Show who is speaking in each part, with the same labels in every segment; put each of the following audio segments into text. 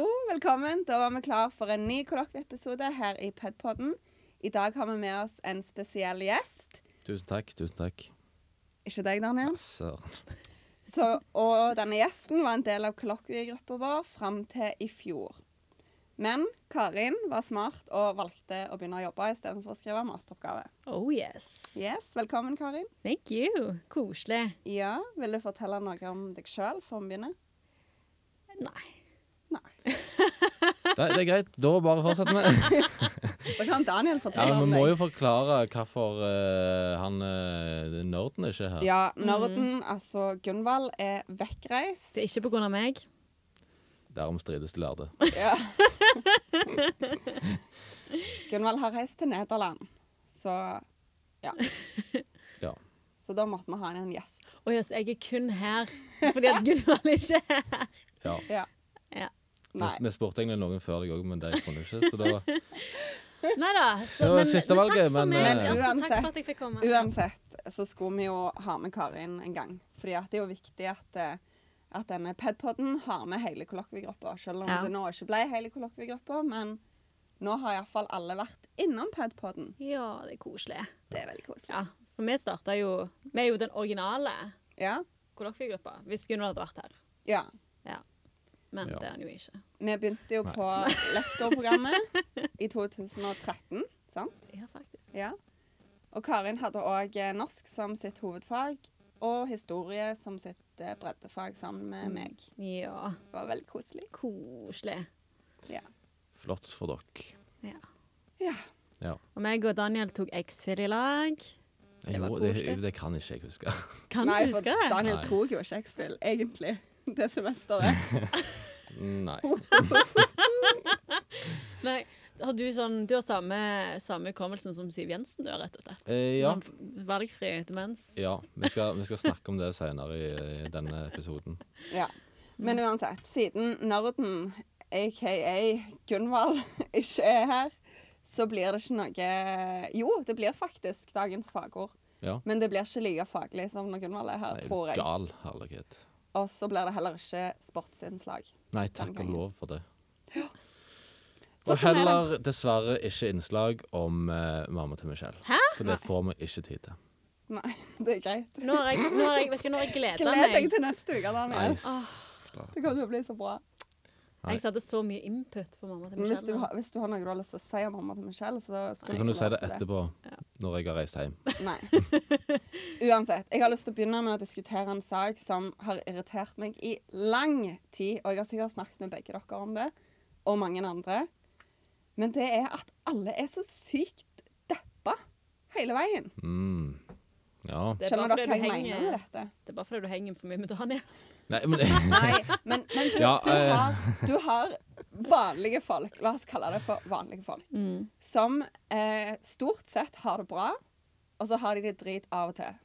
Speaker 1: velkommen. Da var vi klar for en ny kollokvieepisode her i Pedpodden. I dag har vi med oss en spesiell gjest.
Speaker 2: Tusen takk. tusen takk.
Speaker 1: Ikke deg, Daniel.
Speaker 2: Søren.
Speaker 1: Så, og denne gjesten var en del av kollokviegruppa vår fram til i fjor. Men Karin var smart og valgte å begynne å jobbe istedenfor å skrive masteroppgave.
Speaker 3: Oh yes.
Speaker 1: Yes, Velkommen, Karin.
Speaker 3: Thank you. Koselig.
Speaker 1: Ja, Vil du fortelle noe om deg sjøl før vi begynner?
Speaker 3: Nei.
Speaker 1: Nei.
Speaker 2: Det, det er greit. Da bare fortsetter vi.
Speaker 1: Da kan Daniel
Speaker 2: Ja,
Speaker 1: fortelle
Speaker 2: men Vi
Speaker 1: om
Speaker 2: må jo
Speaker 1: deg.
Speaker 2: forklare hvorfor eh, han uh, nerden ikke er her.
Speaker 1: Ja, mm. Norden, altså Gunvald, er vekkreist.
Speaker 3: Det er ikke på grunn av meg.
Speaker 2: Derom strides de lærde.
Speaker 1: Ja. Gunvald har reist til Nederland, så ja.
Speaker 2: Ja.
Speaker 1: Så da måtte vi ha inn en gjest.
Speaker 3: Å yes, jeg er kun her fordi at Gunvald ikke er her.
Speaker 2: Ja.
Speaker 1: Ja.
Speaker 3: Ja.
Speaker 2: Vi,
Speaker 1: Nei.
Speaker 2: vi spurte egentlig noen før deg òg, men det kunne ikke. Så da,
Speaker 3: Nei da.
Speaker 2: Så siste valget, men,
Speaker 3: men
Speaker 2: eh,
Speaker 3: takk for meg. Altså,
Speaker 1: Men
Speaker 3: takk for at jeg fikk komme.
Speaker 1: Uansett så skulle vi jo ha med Karin en gang. Fordi at det er jo viktig at, eh, at denne pedpodden har med hele kollokviegruppa. Selv om
Speaker 3: Ja.
Speaker 1: det nå ikke ble hele kollokviegruppa, men nå har iallfall alle vært innom pedpodden.
Speaker 3: Ja, det er koselig.
Speaker 1: Det er veldig koselig.
Speaker 3: Ja, for vi starta jo Vi er jo den originale
Speaker 1: Ja.
Speaker 3: kollokviegruppa, hvis Gunvald hadde vært her.
Speaker 1: ja.
Speaker 3: Ja. Men
Speaker 2: Ja.
Speaker 3: det er han jo ikke.
Speaker 1: Vi begynte jo
Speaker 2: Nei.
Speaker 1: på lektorprogrammet i 2013, sant?
Speaker 3: Ja, faktisk.
Speaker 1: Ja. Og Karin hadde òg norsk som sitt hovedfag og historie som sitt eh, breddefag sammen med
Speaker 2: Mm.
Speaker 1: meg.
Speaker 3: Ja,
Speaker 1: Det var veldig koselig.
Speaker 3: koselig.
Speaker 1: Ja.
Speaker 2: flott for dere.
Speaker 3: Ja.
Speaker 1: ja.
Speaker 2: Ja.
Speaker 3: Og meg og Daniel tok X-Fill i lag. Det var
Speaker 2: Jo, det,
Speaker 3: koselig.
Speaker 2: det kan ikke jeg huske.
Speaker 3: Kan
Speaker 1: Nei,
Speaker 3: du
Speaker 1: for
Speaker 3: huske det?
Speaker 1: Daniel
Speaker 2: Nei.
Speaker 1: tok jo ikke X-Fill, egentlig, det semesteret.
Speaker 2: Nei.
Speaker 3: Nei, har du, sånn, du har samme, samme hukommelsen som Siv Jensen, da, rett og slett?
Speaker 2: Eh, ja.
Speaker 3: Sånn valgfri demens.
Speaker 2: ja vi, skal, vi skal snakke om det senere i, i denne episoden.
Speaker 1: Ja. Men uansett, siden nerden, aka Gunvald, ikke er her, så blir det ikke noe eh, Jo, det blir faktisk dagens fagord.
Speaker 2: Ja.
Speaker 1: Men det blir ikke like faglig som når Gunvald er her,
Speaker 2: Nei,
Speaker 1: tror jeg.
Speaker 2: Gal herlighet.
Speaker 1: Og så blir det heller ikke sportsinnslag.
Speaker 2: Nei, takk og lov for det.
Speaker 1: Så sånn
Speaker 2: Og
Speaker 1: er det.
Speaker 2: heller dessverre ikke innslag om eh, mamma til Michelle.
Speaker 3: Hæ?
Speaker 2: For det får vi ikke tid til.
Speaker 1: Nei, det er greit.
Speaker 3: Nå har jeg, nå har jeg, vet ikke, nå har jeg gleda
Speaker 1: Gled deg
Speaker 3: meg.
Speaker 1: til neste uke, Daniel.
Speaker 2: Nice. Klar.
Speaker 1: Det kommer til å bli så bra.
Speaker 2: Nei.
Speaker 3: Jeg hadde så mye input på mamma til
Speaker 1: Men hvis du,
Speaker 3: Michelle.
Speaker 1: har- hvis du har noe du har lyst til å si om mamma til Michelle, så skal
Speaker 2: Så kan du si det etterpå, når jeg har reist hjem.
Speaker 1: Nei. Uansett, jeg har lyst til å begynne med å diskutere en sak som har irritert meg i lang tid, og jeg har sikkert snakket med begge dere om det, og mange andre, men det er at alle er så sykt deppa hele veien.
Speaker 2: Mm. Ja.
Speaker 3: Det er,
Speaker 1: Skjønner
Speaker 3: bare
Speaker 1: dere hva jeg
Speaker 3: fordi du
Speaker 1: mener med
Speaker 3: henger,
Speaker 1: dette?
Speaker 3: det er bare fordi du henger for mye med Daniel.
Speaker 2: Nei, men
Speaker 1: Nei, men, men du,
Speaker 2: Ja,
Speaker 1: du,
Speaker 2: eh.
Speaker 1: har, du har vanlige folk, la oss kalle det for vanlige folk, som eh, stort sett har det bra, og så har de det drit av og til.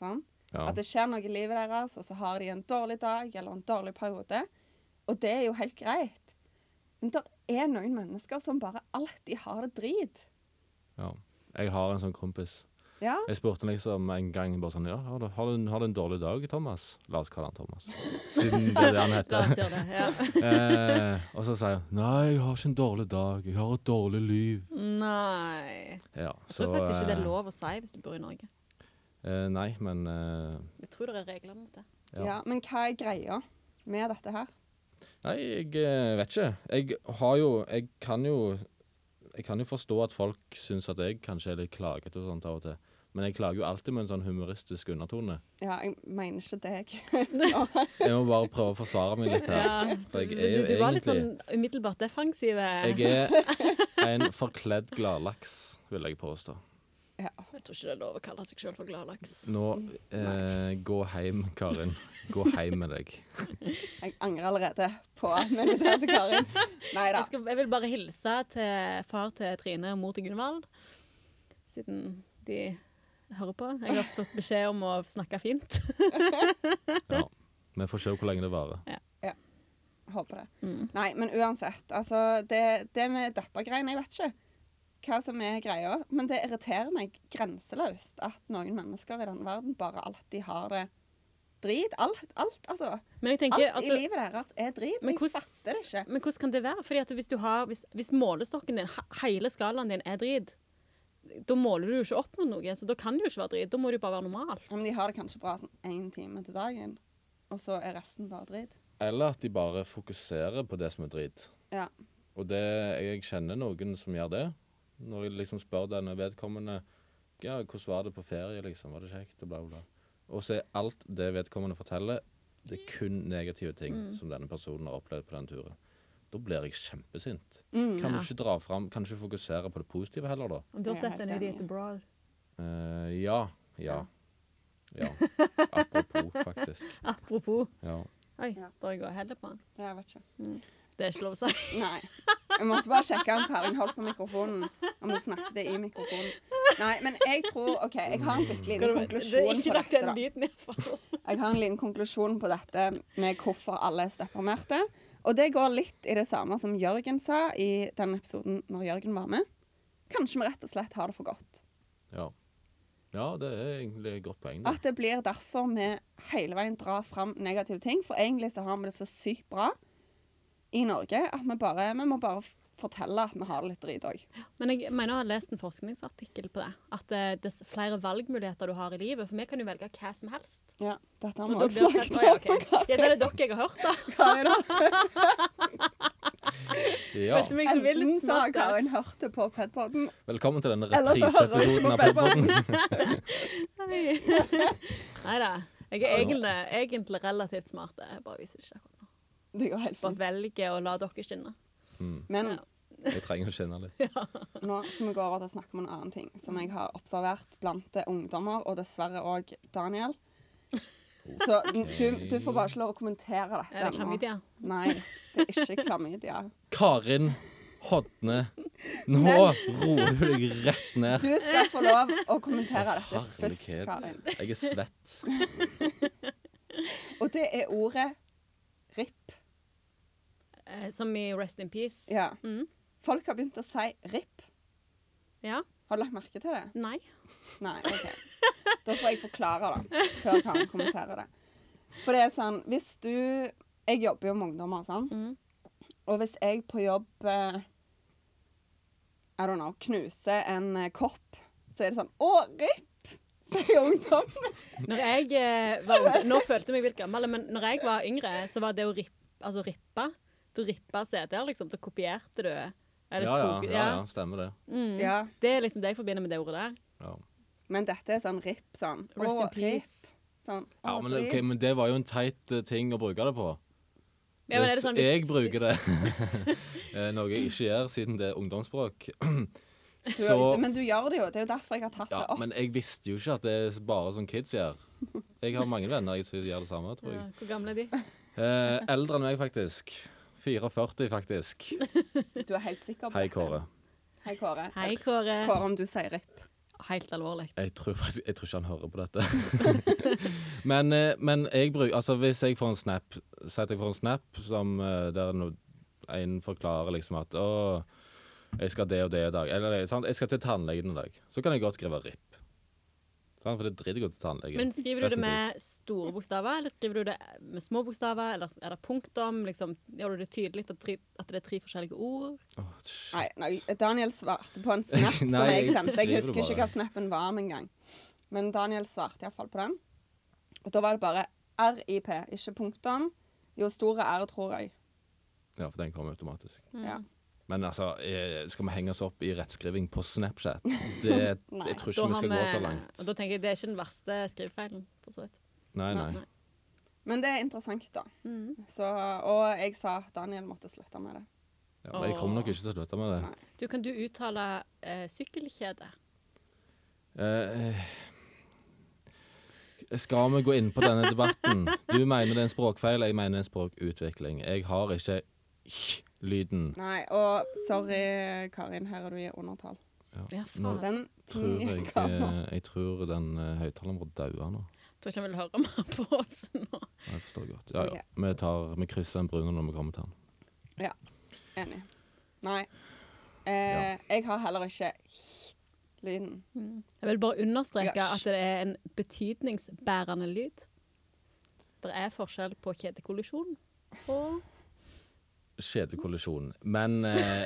Speaker 1: Sånn?
Speaker 2: ja.
Speaker 1: At det skjer noe i livet deres, og så har de en dårlig dag eller en dårlig periode. Og det er jo helt greit. Men det er noen mennesker som bare alltid har det drit.
Speaker 2: ja. Jeg har en sånn kompis.
Speaker 1: Ja,
Speaker 2: Jeg spurte han liksom en gang bare sånn Ja, har du, har, du, en- har du en dårlig dag, Thomas? La oss kalle han Thomas. Siden det er det han
Speaker 3: La
Speaker 2: heter.
Speaker 3: oss gjøre det. Ja.
Speaker 2: Eh, og så sier han Nei, jeg har ikke en dårlig dag. Jeg har et dårlig liv.
Speaker 3: Nei.
Speaker 2: Ja,
Speaker 3: Jeg tror faktisk ikke det
Speaker 2: eh,
Speaker 3: er lov å si hvis du bor i Norge.
Speaker 2: Eh, nei, men eh,
Speaker 3: Jeg tror det er regler mot det.
Speaker 2: Ja.
Speaker 1: ja. Men hva er greia med dette her?
Speaker 2: Nei, jeg eh, vet ikke. Jeg har jo Jeg kan jo Jeg kan jo forstå at folk syns at jeg kanskje er litt klagete og sånt av og til. Men jeg klager jo alltid med en sånn humoristisk undertone.
Speaker 1: Ja, jeg mener ikke deg.
Speaker 2: Jeg må bare prøve å forsvare meg litt her.
Speaker 3: Ja, du,
Speaker 2: For jeg
Speaker 3: du,
Speaker 2: er jo
Speaker 3: du var litt sånn
Speaker 2: egentlig-
Speaker 3: umiddelbart defensiv. eh. Jeg,
Speaker 2: Jeg er en forkledd gladlaks, vil jeg påstå.
Speaker 1: Ja.
Speaker 3: tror ikke det er lov å kalle seg sjøl for gladlaks.
Speaker 2: Nå eh, gå hjem, Karin. Gå hjem med deg.
Speaker 1: Jeg angrer allerede på at vi inviterte Karin. Nei da.
Speaker 3: Jeg, skal, jeg vil bare hilse til far til Trine og mor til Gunvald, siden de hører på. Jeg har fått beskjed om å snakke fint.
Speaker 2: Ja. Vi får se hvor lenge det varer.
Speaker 1: Håper det. Nei, men uansett. Altså, det, det med deppa-greiene, jeg vet ikke hva som er greia, men det irriterer meg grenseløst at noen mennesker i denne verden bare alltid har det drit. Alt, alt altså.
Speaker 3: Men jeg
Speaker 1: Alt
Speaker 3: tenker,
Speaker 1: i
Speaker 3: altså,
Speaker 1: livet deres er drit.
Speaker 3: Men
Speaker 1: Jeg
Speaker 3: hvordan-
Speaker 1: fatter det ikke.
Speaker 3: men hvordan kan det være? Fordi at hvis, du har, hvis, hvis målestokken din, he- hele skalaen din, er drit, da måler du jo ikke opp mot noe, så da kan det jo ikke være drit. Da må det jo bare være normal.
Speaker 1: Ja, men de har det kanskje bra sånn én time til dagen, og så er resten bare drit.
Speaker 2: Eller at de bare fokuserer på det som er drit.
Speaker 1: Ja.
Speaker 2: Og det, jeg kjenner noen som gjør det. Når jeg liksom spør denne vedkommende ja, hvordan var det på ferie, liksom, var det kjekt, og bla, bla. Og så er alt det vedkommende forteller, det er kun negative ting
Speaker 1: Mm.
Speaker 2: som denne personen har opplevd på den turen. Da blir jeg kjempesint.
Speaker 1: Mm,
Speaker 2: Kan du
Speaker 3: Ja.
Speaker 2: ikke dra fram, kan du ikke fokusere på det positive heller, da?
Speaker 3: Om du har
Speaker 1: Jeg er
Speaker 3: sett en
Speaker 1: helt
Speaker 3: idiot
Speaker 1: enig.
Speaker 3: abroad.
Speaker 2: Eh, ja. Ja. Ja. Apropos, faktisk.
Speaker 3: Apropos.
Speaker 2: Ja.
Speaker 3: Oi,
Speaker 1: Ja.
Speaker 3: står jeg og heller på den?
Speaker 1: Jeg vet ikke.
Speaker 3: Det er ikke lov å si.
Speaker 1: Nei. Jeg måtte bare sjekke om Karin holdt på mikrofonen. Om hun snakket i mikrofonen. Nei, men jeg tror OK, jeg har en bitte
Speaker 3: Det
Speaker 1: liten
Speaker 3: er
Speaker 1: konklusjon
Speaker 3: ikke
Speaker 1: på dette,
Speaker 3: nok den
Speaker 1: da.
Speaker 3: lyden, iallfall.
Speaker 1: Jeg har en liten konklusjon på dette med hvorfor alle er så deprimerte. Og det går litt i det samme som Jørgen sa i den episoden når Jørgen var med. Kanskje vi rett og slett har det for godt.
Speaker 2: Ja. ja, det er egentlig et godt poeng. det.
Speaker 1: At det blir derfor vi hele veien drar fram negative ting. For egentlig så har vi det så sykt bra i Norge at vi bare vi må bare f- fortelle at vi har det litt drit òg.
Speaker 3: Men jeg mener jeg har lest en forskningsartikkel på det. At eh, dess flere valgmuligheter du har i livet. For vi kan jo velge hva som helst.
Speaker 1: Ja, dette har
Speaker 3: Og
Speaker 1: vi
Speaker 3: da
Speaker 1: også
Speaker 3: blir det
Speaker 1: snakket
Speaker 3: sånn,
Speaker 1: om.
Speaker 3: «Oi, ok. Ja, det er det dere jeg har hørt, da.
Speaker 1: Karin, har-
Speaker 2: Ja.
Speaker 3: Følte meg som
Speaker 1: Enten
Speaker 3: litt
Speaker 1: så har
Speaker 3: smart. der.
Speaker 1: Karin hørt det på Pedpoden,
Speaker 2: Velkommen til denne
Speaker 1: eller så hører hun ikke
Speaker 2: repriseepisoden
Speaker 1: på
Speaker 2: av Podden.
Speaker 1: Pedpoden.
Speaker 3: Nei da. Jeg er egentlig, egentlig relativt smart. det. Jeg bare viser det ikke akkurat nå.
Speaker 1: Det går helt
Speaker 3: Bare
Speaker 1: fint.
Speaker 3: velger å la dere skinne.
Speaker 1: Men
Speaker 3: Ja.
Speaker 2: Jeg trenger å kjenne litt.
Speaker 1: nå som vi går over til å snakke om en annen ting som jeg har observert blant eh, ungdommer, og dessverre òg Daniel Så du, du får bare ikke lov å kommentere dette.
Speaker 3: Er det
Speaker 1: nå.
Speaker 3: klamydia?
Speaker 1: Nei, det er ikke klamydia.
Speaker 2: Karin Hodne, nå roer du deg rett ned.
Speaker 1: Du skal få lov å kommentere dette først, Karin.
Speaker 2: Herlighet. Jeg er svett.
Speaker 1: Og det er ordet RIP.
Speaker 3: Eh, Som i Rest in Peace?
Speaker 1: Ja.
Speaker 3: Mm.
Speaker 1: Folk har begynt å si RIP.
Speaker 3: Ja?
Speaker 1: Har du lagt merke til det?
Speaker 3: Nei?
Speaker 1: Nei, ok. Da får jeg forklare det, før Karen kommenterer det. For det er sånn, hvis du... Jeg jobber jo med ungdommer, sånn.
Speaker 3: Mm.
Speaker 1: Og hvis jeg på jobb, eh, I don't know, knuser en eh, kopp, så er det sånn, å, RIP, sier ungdommen.
Speaker 3: Når jeg eh, var ung- Nå følte jeg meg litt gammel, men når jeg var yngre, så var det å rippe, altså rippe Du rippa CD-er, liksom. Da kopierte du.
Speaker 2: Ja,
Speaker 3: Eller
Speaker 2: ja,
Speaker 3: tok
Speaker 2: ja, ja stemmer det.
Speaker 3: Mm.
Speaker 1: Ja,
Speaker 3: Det er liksom det jeg forbinder med det ordet der.
Speaker 2: Ja.
Speaker 1: men dette er sånn RIP, sånn.
Speaker 3: Rest
Speaker 1: «Å,
Speaker 3: in peace.
Speaker 1: RIP», Sånn,
Speaker 2: Ja,
Speaker 1: «Å,
Speaker 2: men,
Speaker 1: drit».
Speaker 2: ok, men det var jo en teit eh, ting å bruke det på.
Speaker 3: Ja, men er det
Speaker 2: Hvis
Speaker 3: sånn, hvis,
Speaker 2: jeg bruker det, eh, noe jeg ikke gjør siden det er ungdomsspråk,
Speaker 1: Du,
Speaker 2: så
Speaker 1: men du gjør det jo. Det er jo derfor jeg har tatt
Speaker 2: Ja,
Speaker 1: det opp.
Speaker 2: men jeg visste jo ikke at det er bare sånn kids gjør. Jeg har mange venner jeg som gjør det samme, tror jeg.
Speaker 3: ja, Hvor gamle er de?
Speaker 2: Eh, eldre enn meg, faktisk. 44, faktisk.
Speaker 1: Du er helt sikker på
Speaker 2: Hei,
Speaker 1: dette.
Speaker 2: Kåre.
Speaker 1: Hei, Kåre.
Speaker 3: Hei, Kåre.
Speaker 1: Kåre, om du sier ripp.
Speaker 3: Helt alvorlig.
Speaker 2: Jeg tror faktisk Jeg tror ikke han hører på dette. men, eh, men jeg bruker Altså, hvis jeg får en snap Si at jeg får en snap som, eh, der no, en forklarer liksom at Å, jeg skal det og det i dag. Eller sant? jeg skal til tannlegen i dag. Så kan jeg godt skrive RIP. Sant? For det driter jeg godt til tannlegen.
Speaker 3: Men skriver du det
Speaker 2: Resten
Speaker 3: med store bokstaver, eller skriver du det med små bokstaver, eller er det punktum? Liksom, gjør du det tydelig at, tre, at det er tre forskjellige ord?
Speaker 2: Åh, shit.
Speaker 1: Nei, nei, Daniel svarte på en snap som
Speaker 2: Nei,
Speaker 1: jeg
Speaker 2: jeg
Speaker 1: sendte. Jeg husker
Speaker 2: skriver det
Speaker 1: ikke
Speaker 2: bare.
Speaker 1: hva snappen var om engang. Men Daniel svarte iallfall på den. Og da var det bare RIP, ikke punktum. Jo, store R, tror jeg.
Speaker 2: Ja, for den kommer automatisk.
Speaker 1: Ja.
Speaker 2: Men altså, eh, skal vi henge oss opp i rettskriving på Snapchat? Det,
Speaker 1: Nei,
Speaker 2: jeg tror ikke
Speaker 3: Da
Speaker 2: vi
Speaker 3: har
Speaker 2: skal gå så
Speaker 3: og
Speaker 2: langt.
Speaker 3: da tenker jeg det er ikke den verste skrivefeilen, for så vidt.
Speaker 2: Nei, nei.
Speaker 3: Nei.
Speaker 1: Men det er interessant, da.
Speaker 3: Mm.
Speaker 1: Så, og jeg sa at Daniel måtte slutte med det.
Speaker 2: Ja, men jeg kommer nok ikke til å slutte med det.
Speaker 1: Nei.
Speaker 3: Du, kan du uttale eh, sykkelkjede?
Speaker 2: Eh, eh, skal vi gå inn på denne debatten? Du mener det er en språkfeil, jeg mener det er en språkutvikling. Jeg har ikke lyden,
Speaker 1: Nei, og sorry, Karin, her er du i undertall.
Speaker 3: Ja,
Speaker 2: Nå
Speaker 3: faen.
Speaker 1: Den
Speaker 2: tror
Speaker 1: tingen
Speaker 2: jeg.
Speaker 1: kan nå.
Speaker 2: eh, Jeg tror den eh, høyttaleren vår dauer nå.
Speaker 3: Tror ikke han vil høre mer på oss nå.
Speaker 2: Ja, Jeg forstår godt. Ja,
Speaker 1: Ok.
Speaker 2: ja. Vi, tar, vi krysser den brune når vi kommer til den.
Speaker 1: Enig. Nei. Eh, Jeg har heller ikke lyden.
Speaker 3: Jeg vil bare understreke
Speaker 1: Ja,
Speaker 3: at det er en betydningsbærende lyd. det er forskjell på kjedekollisjon og
Speaker 2: Kjedekollisjon. Men eh,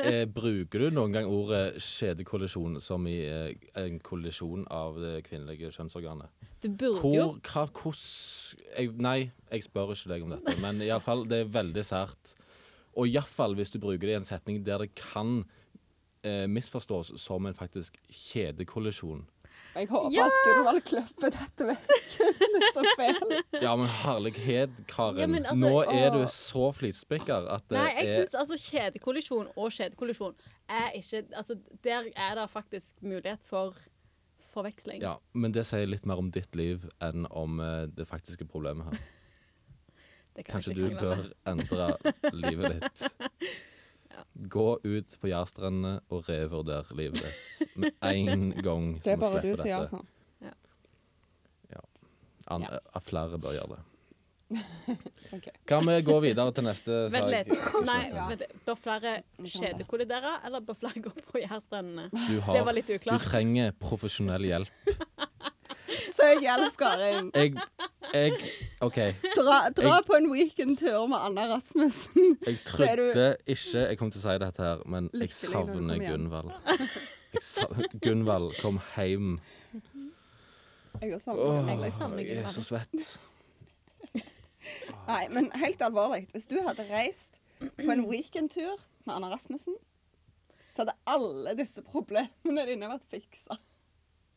Speaker 2: eh, bruker du noen gang ordet kjedekollisjon som i eh, en kollisjon av det kvinnelige kjønnsorganet?
Speaker 3: Det burde jo
Speaker 2: Hvor, hva, hvordan jeg, Nei, jeg spør ikke deg om dette, men i alle fall, det er veldig sært. Og iallfall hvis du bruker det i en setning der det kan eh, misforstås som en faktisk kjedekollisjon.
Speaker 1: Jeg håper
Speaker 3: Ja!
Speaker 1: at Gunvald klipper dette vekk. det er så feil.
Speaker 2: Ja, men herlighet, Karen.
Speaker 3: Ja, men altså,
Speaker 2: Nå er
Speaker 3: å.
Speaker 2: du så flisespikker at det
Speaker 3: Nei, jeg
Speaker 2: er
Speaker 3: syns altså kjedekollisjon og kjedekollisjon er ikke Altså, der er det faktisk mulighet for forveksling.
Speaker 2: ja, Men det sier litt mer om ditt liv enn om eh, det faktiske problemet her.
Speaker 3: Det kan
Speaker 2: Kanskje
Speaker 3: jeg
Speaker 2: du
Speaker 3: ikke krangle
Speaker 2: bør
Speaker 3: med.
Speaker 2: endre livet ditt. Gå ut på Jærstrendene og revurder livet ditt med en gang
Speaker 1: Det
Speaker 2: som
Speaker 1: er
Speaker 2: vi
Speaker 1: bare du
Speaker 2: slipper
Speaker 1: som gjør
Speaker 2: dette.
Speaker 1: sånn.
Speaker 2: An,
Speaker 1: Ja.
Speaker 2: eh, Flere bør gjøre det.
Speaker 1: Ok.
Speaker 2: Kan vi gå videre til neste
Speaker 3: Vent
Speaker 2: sak?
Speaker 3: litt. Nei,
Speaker 1: Ja.
Speaker 3: vent litt. Bør flere
Speaker 1: det.
Speaker 3: kjedekollidere, eller bør flere gå på gjærstrendene?
Speaker 2: Du,
Speaker 3: Det var
Speaker 2: har,
Speaker 3: litt
Speaker 2: du
Speaker 3: uklart.
Speaker 2: trenger profesjonell hjelp.
Speaker 1: Søk hjelp, Karin.
Speaker 2: Jeg, jeg OK.
Speaker 1: Dra, dra på en weekendtur med Anna Rasmussen.
Speaker 2: Jeg
Speaker 1: er du-
Speaker 2: trodde ikke jeg kom til å si dette her, men jeg
Speaker 1: Lykkelig når du
Speaker 2: savner
Speaker 1: kommer hjem.
Speaker 2: Gunvald. Jeg savner- Gunvald, kom hjem.
Speaker 1: Jeg er sammen
Speaker 2: Åh,
Speaker 1: med deg.
Speaker 3: jeg savner
Speaker 2: jeg er så svett.
Speaker 1: Nei, men helt alvorlig. Hvis du hadde reist på en weekendtur med Anna Rasmussen, så hadde alle disse problemene dine vært fiksa.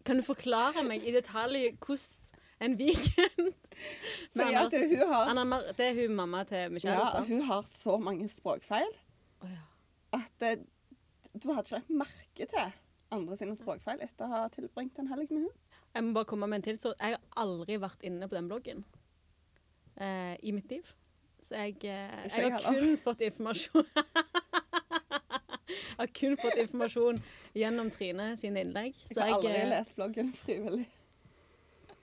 Speaker 3: Kan du forklare meg i detalj hvordan en weekend For
Speaker 1: Fordi
Speaker 3: Anna
Speaker 1: at
Speaker 3: Rasmussen-
Speaker 1: hun har,
Speaker 3: Anna Mar Det er hun mamma til Michelle,
Speaker 1: ja,
Speaker 3: sant?
Speaker 1: hun har så mange språkfeil
Speaker 3: Å, ja.
Speaker 1: at eh, du hadde ikke lagt merke til andre sine språkfeil etter å ha tilbringt en helg med henne.
Speaker 3: Jeg må bare komme med en til. Så jeg har aldri vært inne på den bloggen eh, i mitt liv. Så jeg, eh,
Speaker 1: Ikke
Speaker 3: jeg
Speaker 1: jeg
Speaker 3: har
Speaker 1: heller.
Speaker 3: kun fått informasjon Jeg har kun fått informasjon gjennom Trine sine innlegg.
Speaker 1: Jeg
Speaker 3: Så
Speaker 1: har
Speaker 3: jeg,
Speaker 1: aldri
Speaker 3: eh,
Speaker 1: lest bloggen frivillig.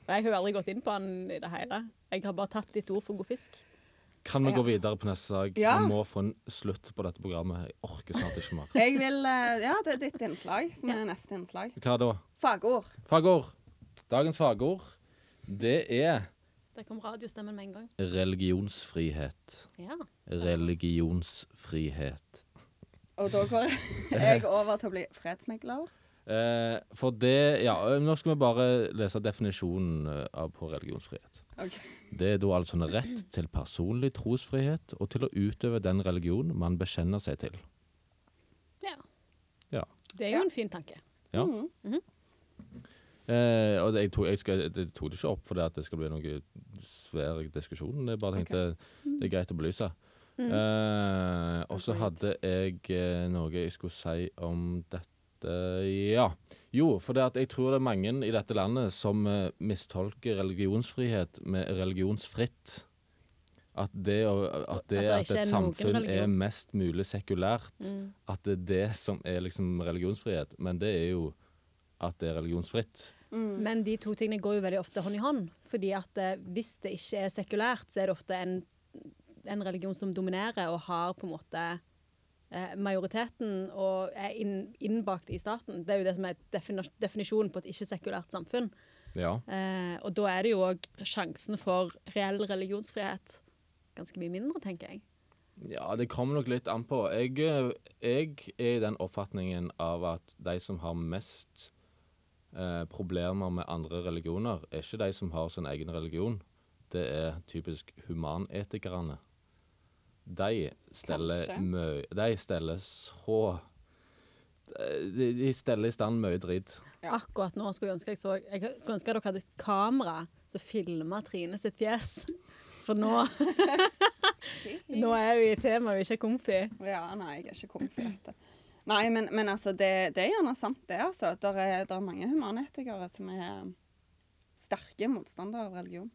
Speaker 3: og jeg har jo aldri gått inn på den i det hele. Jeg har bare tatt ditt ord for god fisk.
Speaker 2: Kan vi
Speaker 1: Ja.
Speaker 2: gå videre på neste sak? Vi
Speaker 1: Ja.
Speaker 2: må få en slutt på dette programmet. Jeg orker snart ikke mer.
Speaker 1: Jeg vil, eh, ja, det er ditt innslag som er neste innslag.
Speaker 2: Hva da?
Speaker 1: Fagord.
Speaker 2: Fagord. Dagens fagord, det er
Speaker 3: Der kom radiostemmen med en gang.
Speaker 2: religionsfrihet.
Speaker 3: Ja.
Speaker 2: Religionsfrihet.
Speaker 1: Og da går jeg over til å bli fredsmegler.
Speaker 2: Eh, for det Ja, nå skal vi bare lese definisjonen eh, av på religionsfrihet.
Speaker 1: Ok.
Speaker 2: Det er da altså en rett til personlig trosfrihet og til å utøve den religion man bekjenner seg til.
Speaker 3: ja.
Speaker 2: Ja.
Speaker 3: Det er jo en fin tanke.
Speaker 2: Ja.
Speaker 1: Mhm.
Speaker 2: Eh, og det, jeg, tok, jeg, skal, det tok det ikke opp fordi at det skal bli noe svær diskusjon. Jeg bare tenkte det er greit å belyse.
Speaker 3: Mm.
Speaker 2: Eh, og så hadde jeg eh, noe jeg skulle si om dette Ja. Jo, for det at jeg tror det er mange i dette landet som eh, mistolker religionsfrihet med religionsfritt. At det, å, at, det,
Speaker 3: At det
Speaker 2: at
Speaker 3: ikke
Speaker 2: et
Speaker 3: er noen
Speaker 2: samfunn er
Speaker 3: religion. Mm.
Speaker 2: mest mulig sekulært, at det er det som er liksom religionsfrihet. Men det er jo at det er religionsfritt.
Speaker 3: Men de to tingene går jo veldig ofte hånd i hånd. Fordi at eh, hvis det ikke er sekulært, så er det ofte en, en religion som dominerer og har på en måte eh, majoriteten og er inn, innbakt i staten. Det er jo det som er defini definisjonen på et ikke-sekulært samfunn.
Speaker 2: Ja.
Speaker 3: Eh, og da er det jo òg sjansen for reell religionsfrihet ganske mye mindre, tenker jeg.
Speaker 2: Ja, det kommer nok litt an på. Jeg, eh, jeg er i den oppfatningen av at de som har mest eh, problemer med andre religioner, er ikke de som har sin egen religion. Det er typisk humanetikerne. De steller,
Speaker 1: Kanskje.
Speaker 2: mø de steller så De, de steller i stand mye dritt.
Speaker 1: Ja.
Speaker 3: Akkurat nå skulle jeg ønske jeg så Jeg skulle ønske dere hadde et kamera som filma Trine sitt fjes. For nå Nå er vi i tema vi ikke er komfy.
Speaker 1: Ja, nei, jeg er ikke komfy etter. Nei, men, men altså, det, det er gjerne sant, det. altså. Der er, der er mange humanetikere som er um, sterke motstandere av religion.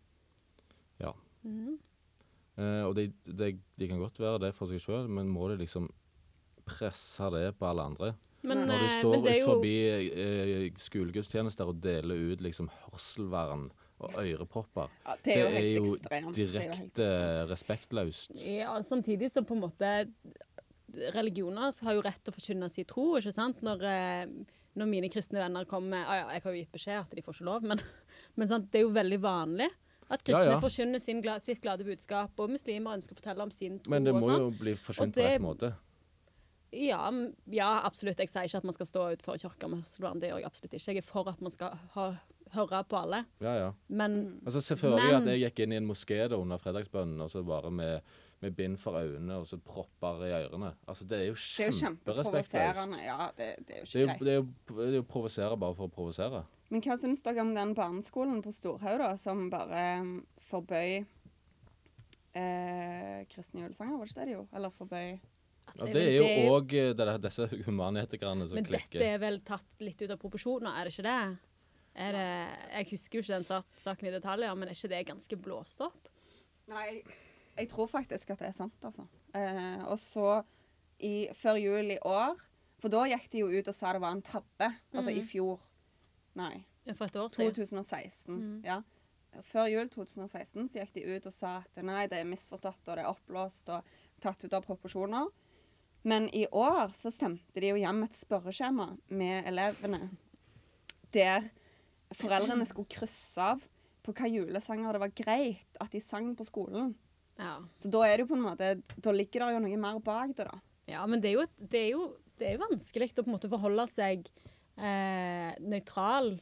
Speaker 2: Ja. Eh, og de, de, de kan godt være det for seg sjøl, men må de liksom presse det på alle andre?
Speaker 3: Men,
Speaker 2: Når de
Speaker 3: eh,
Speaker 2: står
Speaker 3: men det er jo
Speaker 2: forbi eh, skolegudstjenester og deler ut liksom hørselvern og ørepropper
Speaker 1: Ja, det er jo helt ekstremt. Det er jo helt
Speaker 2: direkte respektløst.
Speaker 3: ja, Samtidig som på en måte Religioner har jo rett til å forkynne sin tro, ikke sant? Når, eh, når mine kristne venner kommer med ah, ja, Jeg har jo gitt beskjed at de får ikke lov, men, men sant? det er jo veldig vanlig At kristne
Speaker 2: Ja, ja.
Speaker 3: forkynner sin gla sitt glade budskap, og muslimer ønsker å fortelle om sin tro.
Speaker 2: Men det
Speaker 3: og
Speaker 2: må
Speaker 3: sånn.
Speaker 2: jo bli
Speaker 3: Og
Speaker 2: forsynt på
Speaker 3: det-
Speaker 2: rett måte.
Speaker 3: Ja, m- ja, absolutt. Jeg sier ikke at man skal stå utenfor kirka med slående. Det gjør jeg absolutt ikke. Jeg er for at man skal ha, høre på alle.
Speaker 2: Ja, ja.
Speaker 3: Men
Speaker 2: Altså, Se for deg at
Speaker 3: Men-
Speaker 2: jeg gikk inn i en moské da under fredagsbønnen, og så bare med, med bind for øynene og så propper i ørene. Altså, Det er jo
Speaker 1: Det er jo
Speaker 2: kjemperespektløst.
Speaker 1: kjempeprovoserende. Ja, det, det er jo
Speaker 2: Det er
Speaker 1: ikke
Speaker 2: jo,
Speaker 1: greit.
Speaker 2: det, er jo, det er jo å provosere bare for å provosere.
Speaker 1: Men hva syns dere om den barneskolen på Storhaug, da, som bare mm, forbøy eh, kristne julesanger? Var det ikke det de gjorde? Eller forbøy
Speaker 3: at
Speaker 2: Ja,
Speaker 3: er
Speaker 2: det
Speaker 3: vel
Speaker 2: er jo òg disse humanetikerne som
Speaker 3: Men dette
Speaker 2: klikker.
Speaker 3: er vel tatt litt ut av proporsjoner, er det ikke det? Er det jeg husker jo ikke den sak- saken i detaljer, men er ikke det ganske blåst opp?
Speaker 1: Nei, jeg tror faktisk at det er sant, altså. Eh, og så i, før jul i år For da gikk de jo ut og sa det var en tabbe. Altså i fjor. Nei.
Speaker 3: For et år siden.
Speaker 1: 2016.
Speaker 3: Mm.
Speaker 1: Ja. Før jul 2016 så gikk de ut og sa at nei, det er misforstått og det er oppblåst og tatt ut av proporsjoner. Men i år så stemte de jo hjem et spørreskjema med elevene der foreldrene skulle krysse av på hva julesanger det var greit at de sang på skolen.
Speaker 3: Ja.
Speaker 1: Så da er det jo på en måte, da ligger det jo noe mer bak det, da.
Speaker 3: ja, men det er jo, et- det er jo, det er jo vanskelig å på en måte forholde seg eh, nøytral.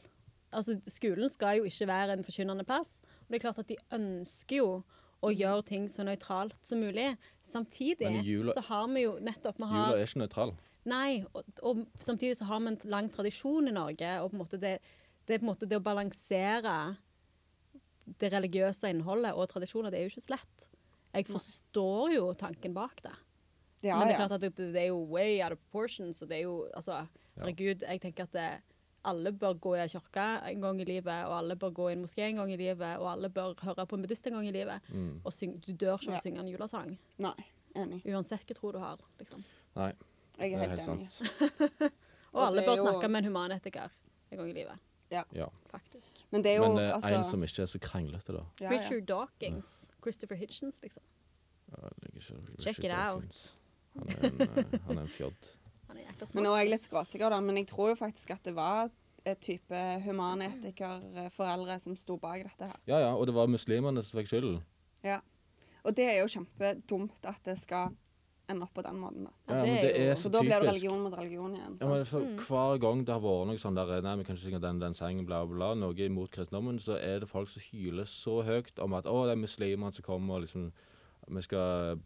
Speaker 3: Altså, skolen skal jo ikke være en forkynnende plass. Og det er klart at de ønsker jo å gjøre ting så nøytralt som mulig. Samtidig
Speaker 2: Mm. Men jula-
Speaker 3: så har vi jo nettopp vi har,
Speaker 2: Jula er ikke nøytral.
Speaker 3: Nei, og, og samtidig så har vi en lang tradisjon i Norge. Og på en måte det, det, er på en måte det å balansere det religiøse innholdet og tradisjoner, det er jo ikke så lett. Jeg forstår jo tanken bak det.
Speaker 1: Ja,
Speaker 3: Men det er
Speaker 1: ja.
Speaker 3: klart at det, det er jo way out of proportion, så det er jo Altså, herregud, jeg tenker at det, alle bør gå i en kirke en gang i livet, og alle bør gå i en moské en gang i livet, og alle bør høre på en buddhist en gang i livet.
Speaker 2: Mm.
Speaker 3: Og syng, du dør ikke av
Speaker 1: Ja.
Speaker 3: å synge en julesang,
Speaker 1: Nei, enig.
Speaker 3: uansett hva tro du har, liksom.
Speaker 2: Nei,
Speaker 1: Jeg
Speaker 2: det
Speaker 1: er
Speaker 2: er
Speaker 1: helt
Speaker 2: helt
Speaker 1: enig.
Speaker 2: sant.
Speaker 3: Og,
Speaker 1: Og
Speaker 3: alle
Speaker 1: det er
Speaker 3: bør
Speaker 1: jo-
Speaker 3: snakke med en humanetiker en gang i livet,
Speaker 2: Ja.
Speaker 3: faktisk.
Speaker 1: Men det er jo
Speaker 2: Men eh,
Speaker 1: altså,
Speaker 2: en som ikke er så kranglete, da.
Speaker 1: ja, ja.
Speaker 3: Richard Dawkins, Christopher Hitchens, liksom.
Speaker 2: Ja, jeg liker ikke
Speaker 3: Check
Speaker 2: Richard
Speaker 3: it out.
Speaker 2: Dawkins. Han er en, eh, han er en fjodd.
Speaker 3: Han er jækla
Speaker 1: Men nå
Speaker 3: smart.
Speaker 1: er jeg litt skråsikker, da. Men jeg tror jo faktisk at det var et type humanetikerforeldre som sto bak dette her.
Speaker 2: Ja ja, og det var muslimene som fikk skylden.
Speaker 1: Ja. Og det er jo kjempedumt at det skal ende opp på den måten, da.
Speaker 2: Ja, men det er
Speaker 1: Så
Speaker 2: så
Speaker 1: da blir det
Speaker 2: typisk.
Speaker 1: religion mot religion igjen.
Speaker 2: Ja, men
Speaker 1: sant? Mm.
Speaker 2: for Hver gang det har vært noe sånn der Nei, vi kan ikke synge den, den sangen, bla, bla, bla, noe imot kristendommen, så er det folk som hyler så høyt om at å, det er muslimene som kommer, og liksom Vi skal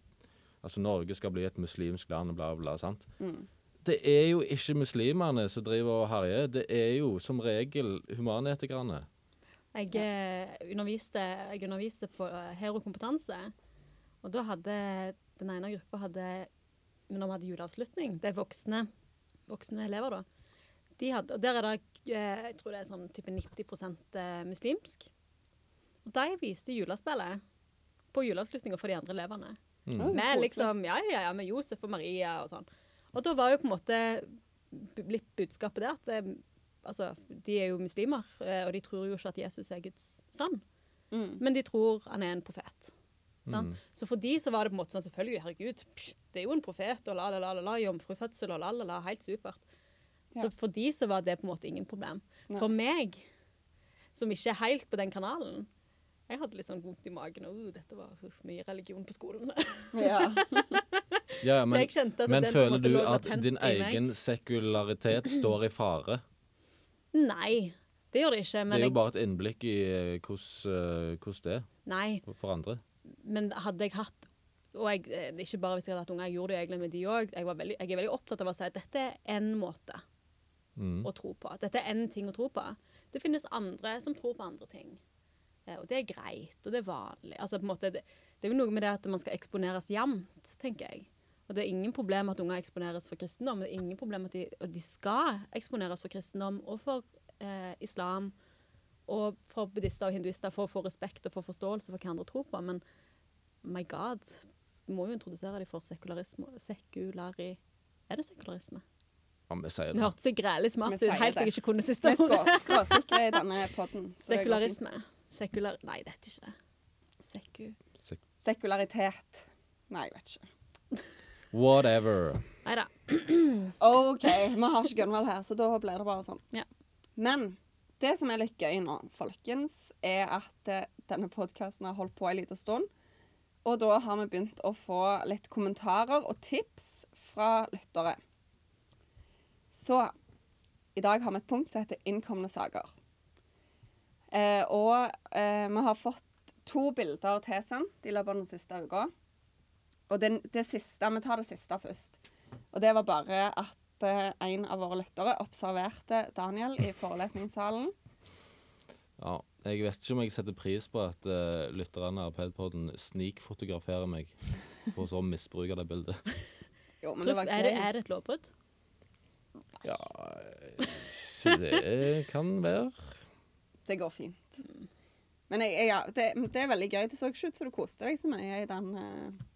Speaker 2: Altså, Norge skal bli et muslimsk land, og bla, bla, sant.
Speaker 1: Mm.
Speaker 2: Det er jo ikke muslimene som driver og herjer, det er jo som regel humanetikerne.
Speaker 3: Jeg, eh, underviste, jeg underviste på eh, Hero kompetanse, og da hadde den ene gruppa hadde, men de hadde juleavslutning. Det er voksne, voksne elever, da. De hadde, og der er det eh, jeg tror det er sånn type 90 eh, muslimsk. Og de viste julespillet på juleavslutninga for de andre elevene.
Speaker 2: Mm.
Speaker 1: Det var så
Speaker 3: Med
Speaker 1: koselig.
Speaker 3: liksom, ja, ja, ja, med Josef og Maria og sånn. Og da var jo på en måte bu- litt budskapet det at eh, altså, de er jo muslimer, eh, og de tror jo ikke at Jesus er Guds sønn.
Speaker 1: Mm.
Speaker 3: Men de tror han er en profet. Sant? Så for de så var det på en måte sånn selvfølgelig, herregud, psh, det er jo en profet, og la, la, la, la, la, jomfrufødsel og la, la, la, helt supert.
Speaker 1: Ja.
Speaker 3: Så for de så var det på en måte ingen problem. For meg, som ikke er helt på den kanalen, jeg hadde litt sånn vondt i magen, og uh, dette var uh, mye religion på skolen.
Speaker 1: Ja.
Speaker 2: Ja, men,
Speaker 3: jeg kjente at
Speaker 2: men
Speaker 3: den på en
Speaker 2: føler
Speaker 3: måte
Speaker 2: du
Speaker 3: lå
Speaker 2: at
Speaker 3: latent
Speaker 2: din
Speaker 3: i meg?
Speaker 2: egen sekularitet står i fare?
Speaker 3: Nei, det gjør det ikke.
Speaker 2: Det
Speaker 3: Men,
Speaker 2: er jo
Speaker 3: jeg,
Speaker 2: bare et innblikk i eh, hvordan eh, hvordan det er
Speaker 3: nei,
Speaker 2: for andre.
Speaker 3: men hadde jeg hatt og jeg, eh, det er ikke bare hvis jeg hadde hatt unger, jeg gjorde det jo egentlig med de òg. Jeg, var veldig- jeg er veldig opptatt av å si at dette er én måte
Speaker 2: Mm.
Speaker 3: å tro på. Dette er én ting å tro på. Det finnes andre som tror på andre ting. Eh, Og det er greit, og det er vanlig. Altså, på en måte, det, det er jo noe med det at man skal eksponeres jevnt, tenker jeg. Og det er ingen problem at unger eksponeres for kristendom. Det er ingen problem at de, og de skal eksponeres for kristendom og for eh, islam og for buddhister og hinduister for å få respekt og for forståelse for hva andre tror på. Men my god, vi må jo introdusere dem for sekularisme. Sekulari... Er det sekularisme?
Speaker 2: Ja, vi sier
Speaker 3: Det
Speaker 2: det.
Speaker 3: hørtes så grælig smart
Speaker 1: Vi
Speaker 3: ut,
Speaker 1: sier det.
Speaker 3: helt til jeg ikke kunne
Speaker 1: Vi
Speaker 3: siste
Speaker 1: er
Speaker 3: ordet.
Speaker 1: skrå- skråsikre i denne podden. så det går fint.
Speaker 3: Sekularisme. Sekular... Nei, det heter ikke det. Seku...
Speaker 2: Sek-
Speaker 1: Sekularitet. Nei, jeg vet ikke.
Speaker 2: Whatever.
Speaker 3: Nei da.
Speaker 1: OK, vi har ikke Gunvald her, så da blir det bare sånn.
Speaker 3: Ja.
Speaker 1: Men Det som er litt gøy nå, folkens, er at eh, denne podkasten har holdt på en liten stund. Og da har vi begynt å få litt kommentarer og tips fra lyttere. Så i dag har vi et punkt som heter 'Innkomne saker'. Eh, og eh, vi har fått to bilder tilsendt i løpet av den siste uka. Og den, det siste, vi tar det siste først. Og det var bare at eh, en av våre lyttere observerte Daniel i forelesningssalen.
Speaker 2: Ja, jeg vet ikke om jeg setter pris på at uh, lytterne av Pedpoden snikfotograferer meg, og så misbruker det bildet.
Speaker 1: Jo, men det
Speaker 3: Tror,
Speaker 1: var
Speaker 3: er, det,
Speaker 1: gøy.
Speaker 3: er det et lovbrudd?
Speaker 2: Ja, så det kan være.
Speaker 1: Det går fint. Men jeg, jeg, ja, det, men det er veldig gøy. Det så ikke ut som du koste deg så mye i den eh,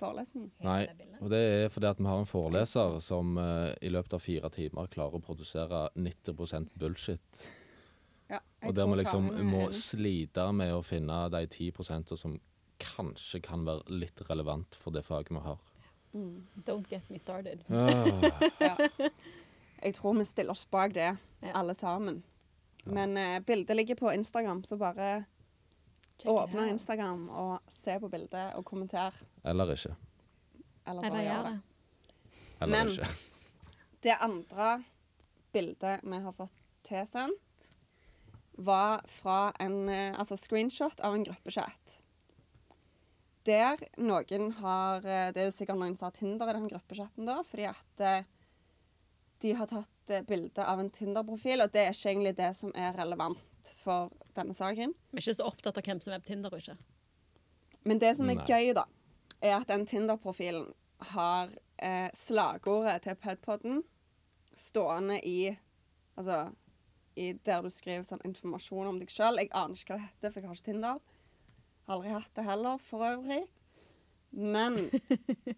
Speaker 1: forelesningen.
Speaker 2: Nei,
Speaker 3: Det bildet.
Speaker 2: og det er fordi at vi har en foreleser som eh, i løpet av fire timer klarer å produsere 90 bullshit.
Speaker 1: Ja, jeg
Speaker 2: Og der
Speaker 1: tror
Speaker 2: vi liksom
Speaker 1: Karin er
Speaker 2: må
Speaker 1: enig.
Speaker 2: slite med å finne de 10 som kanskje kan være litt relevant for det faget vi har.
Speaker 3: Don't get me started.
Speaker 2: Ah,
Speaker 1: ja. Jeg tror vi stiller oss bak det,
Speaker 3: Ja.
Speaker 1: alle sammen. Men eh, bildet ligger på Instagram, så bare
Speaker 3: Check it
Speaker 1: åpne
Speaker 3: out.
Speaker 1: Instagram og se på bildet og kommenter.
Speaker 2: eller ikke.
Speaker 1: Eller
Speaker 3: Eller
Speaker 1: bare
Speaker 3: gjør
Speaker 1: gjør
Speaker 3: det.
Speaker 1: det.
Speaker 2: Eller
Speaker 1: Men-
Speaker 2: ikke.
Speaker 1: Det andre bildet vi har fått tilsendt, var fra en eh, altså screenshot av en gruppechat. Der noen har eh, Det er jo sikkert noen som har Tinder i den gruppechatten, da, fordi at eh, de har tatt eh, bilde av en Tinder-profil, og det er ikke egentlig det som er relevant for denne saken.
Speaker 3: Vi er ikke så opptatt av hvem som er på Tinder og ikke.
Speaker 1: Men det som er
Speaker 2: Nei.
Speaker 1: gøy, da, er at den Tinder-profilen har eh, slagordet til Pedpodden stående i Altså i der du skriver sånn informasjon om deg sjøl. Jeg aner ikke hva det heter, for jeg har ikke Tinder. Har Aldri hatt det heller, for øvrig. Men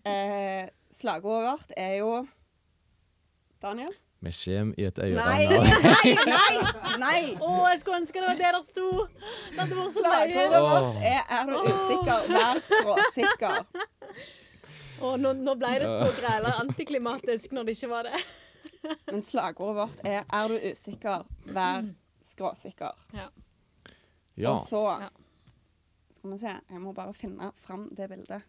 Speaker 1: eh, slagordet vårt er jo Daniel?
Speaker 2: Vi kommer i et
Speaker 1: Nei!
Speaker 2: øyeblikk.
Speaker 1: Nei! Nei! nei.
Speaker 3: Å, jeg skulle ønske det var det der sto! Det hadde vært så løye.
Speaker 1: Slagordet vårt er 'Er du usikker, vær skråsikker'.
Speaker 3: Å, nå, nå ble det så græla antiklimatisk når det ikke var det.
Speaker 1: Men slagordet vårt er 'Er du usikker, vær skråsikker'.
Speaker 3: Ja.
Speaker 2: Ja,
Speaker 1: Og så
Speaker 3: Ja.
Speaker 1: Skal vi se, jeg må bare finne fram det bildet.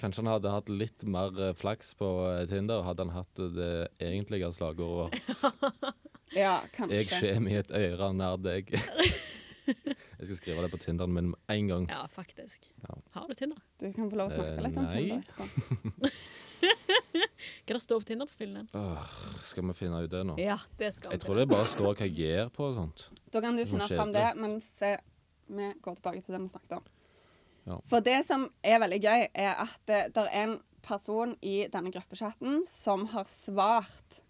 Speaker 2: kanskje han hadde hatt litt mer eh, flaks på eh, Tinder, hadde han hatt det egentlige slagordet vårt.
Speaker 1: Ja,
Speaker 2: Jeg
Speaker 1: kanskje.
Speaker 2: kommer i et øre nær deg. Jeg skal skrive det på Tinderen min med en gang.
Speaker 3: ja, faktisk.
Speaker 2: Ja.
Speaker 3: Har du Tinder?
Speaker 1: Du kan få lov å
Speaker 2: Eh,
Speaker 1: snakke litt om
Speaker 2: nei.
Speaker 1: Tinder etterpå.
Speaker 3: Hva det står på Tinder-profilen din?
Speaker 2: Åh, skal vi finne ut det nå?
Speaker 3: Ja, det skal
Speaker 2: Jeg tror det bare står hva jeg gjør på og sånt.
Speaker 1: Da kan du
Speaker 2: Det er
Speaker 1: finne
Speaker 2: sånn
Speaker 1: fram det
Speaker 2: kjedelig.
Speaker 1: mens eh, vi går tilbake til det vi snakket om.
Speaker 2: Ja.
Speaker 1: For det som er veldig gøy, er at det er en person i denne gruppechatten som har svart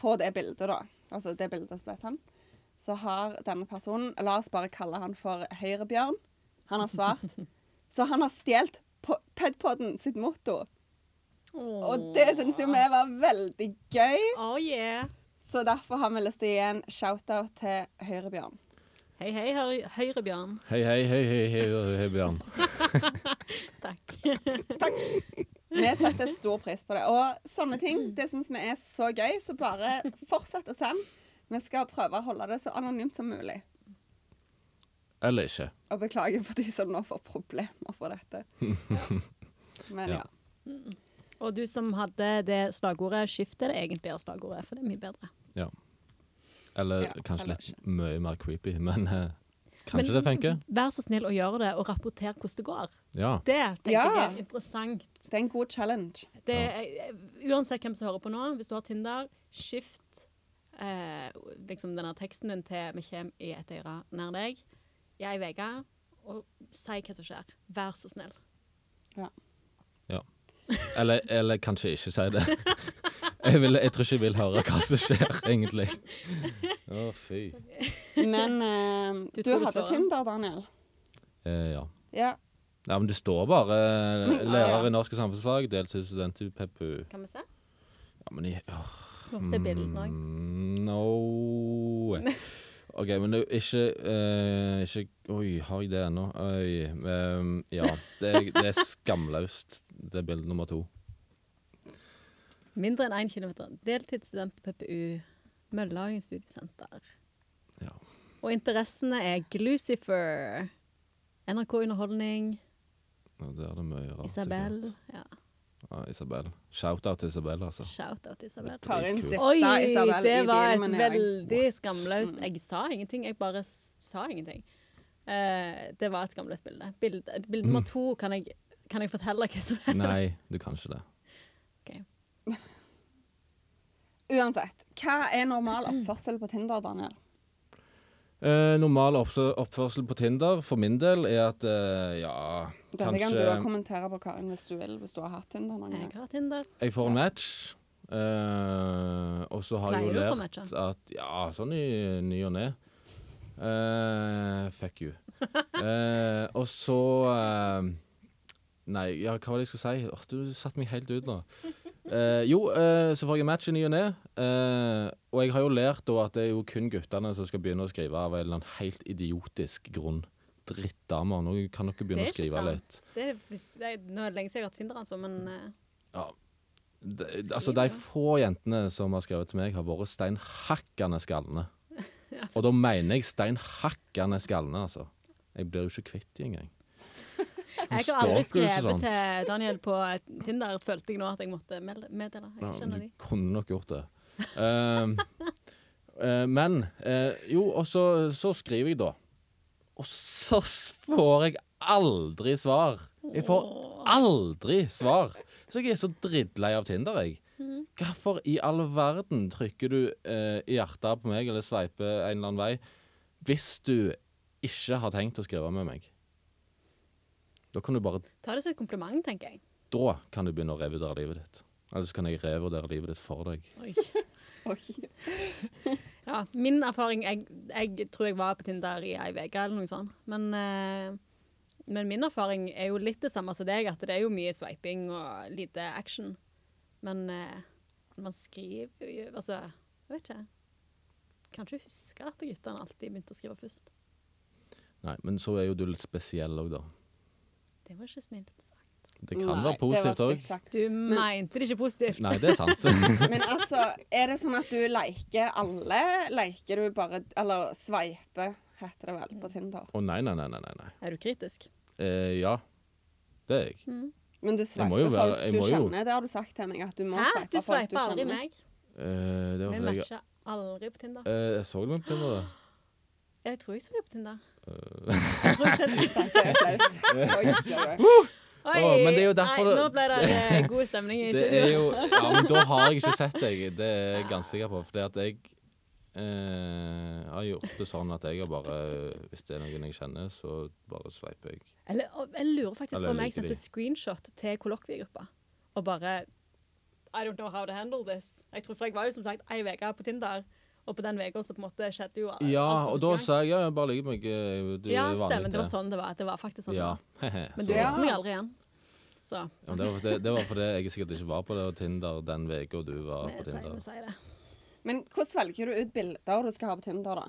Speaker 1: på det bildet, da. Altså det bildet som ble sendt. Så har denne personen La oss bare kalle han for Høyrebjørn. Han har svart. Så han har stjålet Pedpodden sitt motto. Og det syns jo vi var veldig gøy,
Speaker 3: Oh, yeah.
Speaker 1: så derfor har vi lyst til å gi en shout-out til Høyrebjørn.
Speaker 3: Hei, hei, Høy- Høyrebjørn.
Speaker 2: Hei, hei, hei, hei, hei, hei Bjørn.
Speaker 3: Takk.
Speaker 1: Takk. Vi setter stor pris på det. Og sånne ting det syns vi er så gøy, så bare fortsett å sende. Vi skal prøve å holde det så anonymt som mulig.
Speaker 2: Eller ikke.
Speaker 1: Og beklager for de som nå får problemer for dette. Men
Speaker 2: Ja.
Speaker 1: ja.
Speaker 3: Og du som hadde det slagordet, skift til det egentlige slagordet, for det er mye bedre.
Speaker 2: Ja. Eller
Speaker 1: Ja,
Speaker 2: kanskje
Speaker 1: eller
Speaker 2: litt mye mer creepy, men eh, kanskje det funker?
Speaker 3: Vær så snill og gjør det, og rapporter hvordan det går.
Speaker 2: Ja.
Speaker 3: Det tenker
Speaker 1: Ja.
Speaker 3: jeg er interessant.
Speaker 1: Det er en god challenge.
Speaker 3: Det er, eh, uansett hvem som hører på nå, hvis du har Tinder, skift eh, liksom denne teksten din til 'Vi kjem i et øre nær deg' i ei uke, og si hva som skjer. Vær så snill.
Speaker 1: Ja.
Speaker 2: ja. Eller, eller kanskje ikke si det. Jeg, vil, jeg tror ikke jeg vil høre hva som skjer, egentlig. Å, fy.
Speaker 1: Men eh,
Speaker 3: Du
Speaker 1: du
Speaker 3: tror du
Speaker 1: hadde
Speaker 3: slår an?
Speaker 1: Tinder, Daniel.
Speaker 2: Eh, ja.
Speaker 1: Ja.
Speaker 2: Nei, men det står bare eh,
Speaker 1: Men-
Speaker 2: lærer
Speaker 1: Ja, ja.
Speaker 2: i norsk og samfunnsfag, deltid student i PPU.
Speaker 3: Kan vi se?
Speaker 2: Ja, men i åh,
Speaker 3: Du må se bildene òg.
Speaker 2: mm, No. OK, men det er jo ikke, eh, ikke Oi, har jeg det ennå? Oi. ehm, ja. Det er, det er skamløst, det er bilde nummer to.
Speaker 3: Mindre enn 1 km. Deltidsstudent på PPU. Møllhagen studiesenter. Og interessene er Glucifer, NRK Underholdning,
Speaker 2: Ja, det er det mye rart.
Speaker 3: Isabel
Speaker 2: sikkert.
Speaker 3: ja,
Speaker 2: Ja, Isabel. Shout-out til Isabel, altså.
Speaker 3: Shout-out til Isabel.
Speaker 1: Karin
Speaker 2: Dritkult.
Speaker 1: dissa
Speaker 3: Oi,
Speaker 1: Isabel
Speaker 3: det
Speaker 1: i
Speaker 3: var et
Speaker 1: bilnominering.
Speaker 3: veldig skamløst Jeg sa ingenting, jeg bare s- sa ingenting. Eh, det var et skamløst bilde. Bilde, bilde nummer to kan jeg, kan jeg fortelle hva som er.
Speaker 2: Nei, du kan ikke det.
Speaker 3: Ok.
Speaker 1: Uansett, hva er normal oppførsel på Tinder, Daniel?
Speaker 2: Eh, normal opps- oppførsel på Tinder for min del er at eh, ja,
Speaker 1: Dette kan du også
Speaker 2: kanskje
Speaker 1: kommentere på, Karin, hvis du vil, hvis du har hatt Tinder noen
Speaker 3: Jeg
Speaker 1: gang.
Speaker 3: har Tinder.
Speaker 2: jeg får en match. eh, og så har jeg jo
Speaker 3: Pleier du å få
Speaker 2: lært
Speaker 3: matcher?
Speaker 2: at Ja, sånn i ny og ne. Eh, fuck you. Eh, og så eh, Nei, ja, hva var det jeg skulle si? Åh, du satte meg helt ut nå. Eh, jo, eh, så får jeg en match i ny og ne. eh, og jeg har jo lært da at det er jo kun guttene som skal begynne å skrive av en eller annen helt idiotisk grunn. Drittdamer. Nå kan dere begynne å skrive litt.
Speaker 3: Det er, hvis- det er, nå er det lenge siden jeg har hatt Tinder, altså, men eh,
Speaker 2: Ja. De,
Speaker 3: Skriv
Speaker 2: altså,
Speaker 3: det.
Speaker 2: de få jentene som har skrevet til meg, har vært steinhakkende skallende. Og da mener jeg steinhakkende skallende, altså. Jeg blir jo ikke kvitt de engang.
Speaker 3: Jeg har aldri
Speaker 2: stalker og
Speaker 3: skrevet
Speaker 2: sånt.
Speaker 3: til Daniel på Tinder, følte jeg nå at jeg måtte melde- meddele.
Speaker 2: Ja,
Speaker 3: Jeg
Speaker 2: men du
Speaker 3: skjønner de.
Speaker 2: kunne nok gjort det. Ehm, eh, men eh, Jo, og så, så skriver jeg, da. Og så s- får jeg aldri svar. Jeg får aldri svar. Så jeg er så drittlei av Tinder, jeg. Hvorfor i all verden trykker du eh, hjertet på meg eller sveiper en eller annen vei hvis du ikke har tenkt å skrive med meg? Da kan du bare
Speaker 3: Ta det som et kompliment, tenker jeg.
Speaker 2: Da kan du begynne å revurdere livet ditt. Eller så kan jeg revurdere livet ditt for deg.
Speaker 1: Oi.
Speaker 3: Ja, min erfaring jeg, jeg tror jeg var på Tinder i ei uke eller noe sånt. Men, eh, men min erfaring er jo litt det samme som deg, at det er jo mye sveiping og lite action. Men eh, man skriver jo Altså, jeg vet ikke. Kan ikke huske at guttene alltid begynte å skrive først.
Speaker 2: Nei, men så er jo du litt spesiell òg, da.
Speaker 3: Det var ikke snilt sagt.
Speaker 2: Det kan
Speaker 1: Nei,
Speaker 2: være positivt
Speaker 1: det var
Speaker 2: òg.
Speaker 1: stygt sagt.
Speaker 3: Du mente det ikke positivt.
Speaker 2: Nei, det er sant.
Speaker 1: Men altså, er det sånn at du leker alle? Leker du bare Eller sveiper, heter det vel på Tinder.
Speaker 2: Å nei, nei, nei, nei. nei, nei.
Speaker 3: Er du kritisk?
Speaker 2: Eh, ja, det er
Speaker 3: Mm.
Speaker 2: jeg.
Speaker 1: Men du
Speaker 2: må jo
Speaker 1: sveiper
Speaker 2: være-
Speaker 1: folk
Speaker 2: jeg
Speaker 1: du
Speaker 2: må jo-
Speaker 1: kjenner. Det har du sagt til meg, at du må
Speaker 3: Hæ? Du
Speaker 1: sveipe folk du
Speaker 3: sveiper aldri
Speaker 1: kjenner.
Speaker 3: meg.
Speaker 2: Eh, det
Speaker 3: Vi
Speaker 2: var fordi jeg
Speaker 3: matcher aldri på Tinder.
Speaker 2: eh, Jeg så det på det.
Speaker 3: Jeg tror jeg så deg på Tinder.
Speaker 2: Eh.
Speaker 3: Jeg tror jeg så deg-
Speaker 1: Dette er flaut. Oi, oi, oi.
Speaker 3: Oi!
Speaker 2: Å, men det er jo derfor
Speaker 3: Nei,
Speaker 2: det-
Speaker 3: nå ble det eh, god stemning i
Speaker 2: Det er
Speaker 3: studio.
Speaker 2: jo Ja, men da har jeg ikke sett deg. Det er jeg ganske sikker på. Fordi at jeg eh, har gjort det sånn at jeg har bare Hvis det er noen jeg kjenner, så bare sveiper jeg.
Speaker 3: Eller, og jeg lurer faktisk
Speaker 2: Eller
Speaker 3: på om jeg
Speaker 2: liker
Speaker 3: sendte
Speaker 2: de.
Speaker 3: screenshot til kollokviegruppa og bare I don't know how to handle this. Jeg tror, for jeg var jo som sagt ei uke på Tinder, og på den uka så på en måte skjedde jo alt.
Speaker 2: Ja, og
Speaker 3: for første
Speaker 2: da
Speaker 3: gang.
Speaker 2: sa jeg ja, bare ligg meg. eh, Du
Speaker 3: Ja,
Speaker 2: er vanlig
Speaker 3: stemmer. Det var
Speaker 2: til.
Speaker 3: sånn det var. Det var faktisk sånn. det
Speaker 2: Ja.
Speaker 3: var.
Speaker 2: hehe,
Speaker 3: Men
Speaker 2: så-
Speaker 3: du
Speaker 1: Ja.
Speaker 3: hørte meg aldri igjen. Så
Speaker 2: Ja, men det, var, det, det var fordi jeg sikkert ikke var på det og Tinder den uka du var
Speaker 3: vi
Speaker 2: på
Speaker 3: sier, vi
Speaker 2: Tinder.
Speaker 3: sier det.
Speaker 1: Men hvordan velger du ut bilder du skal ha på Tinder, da?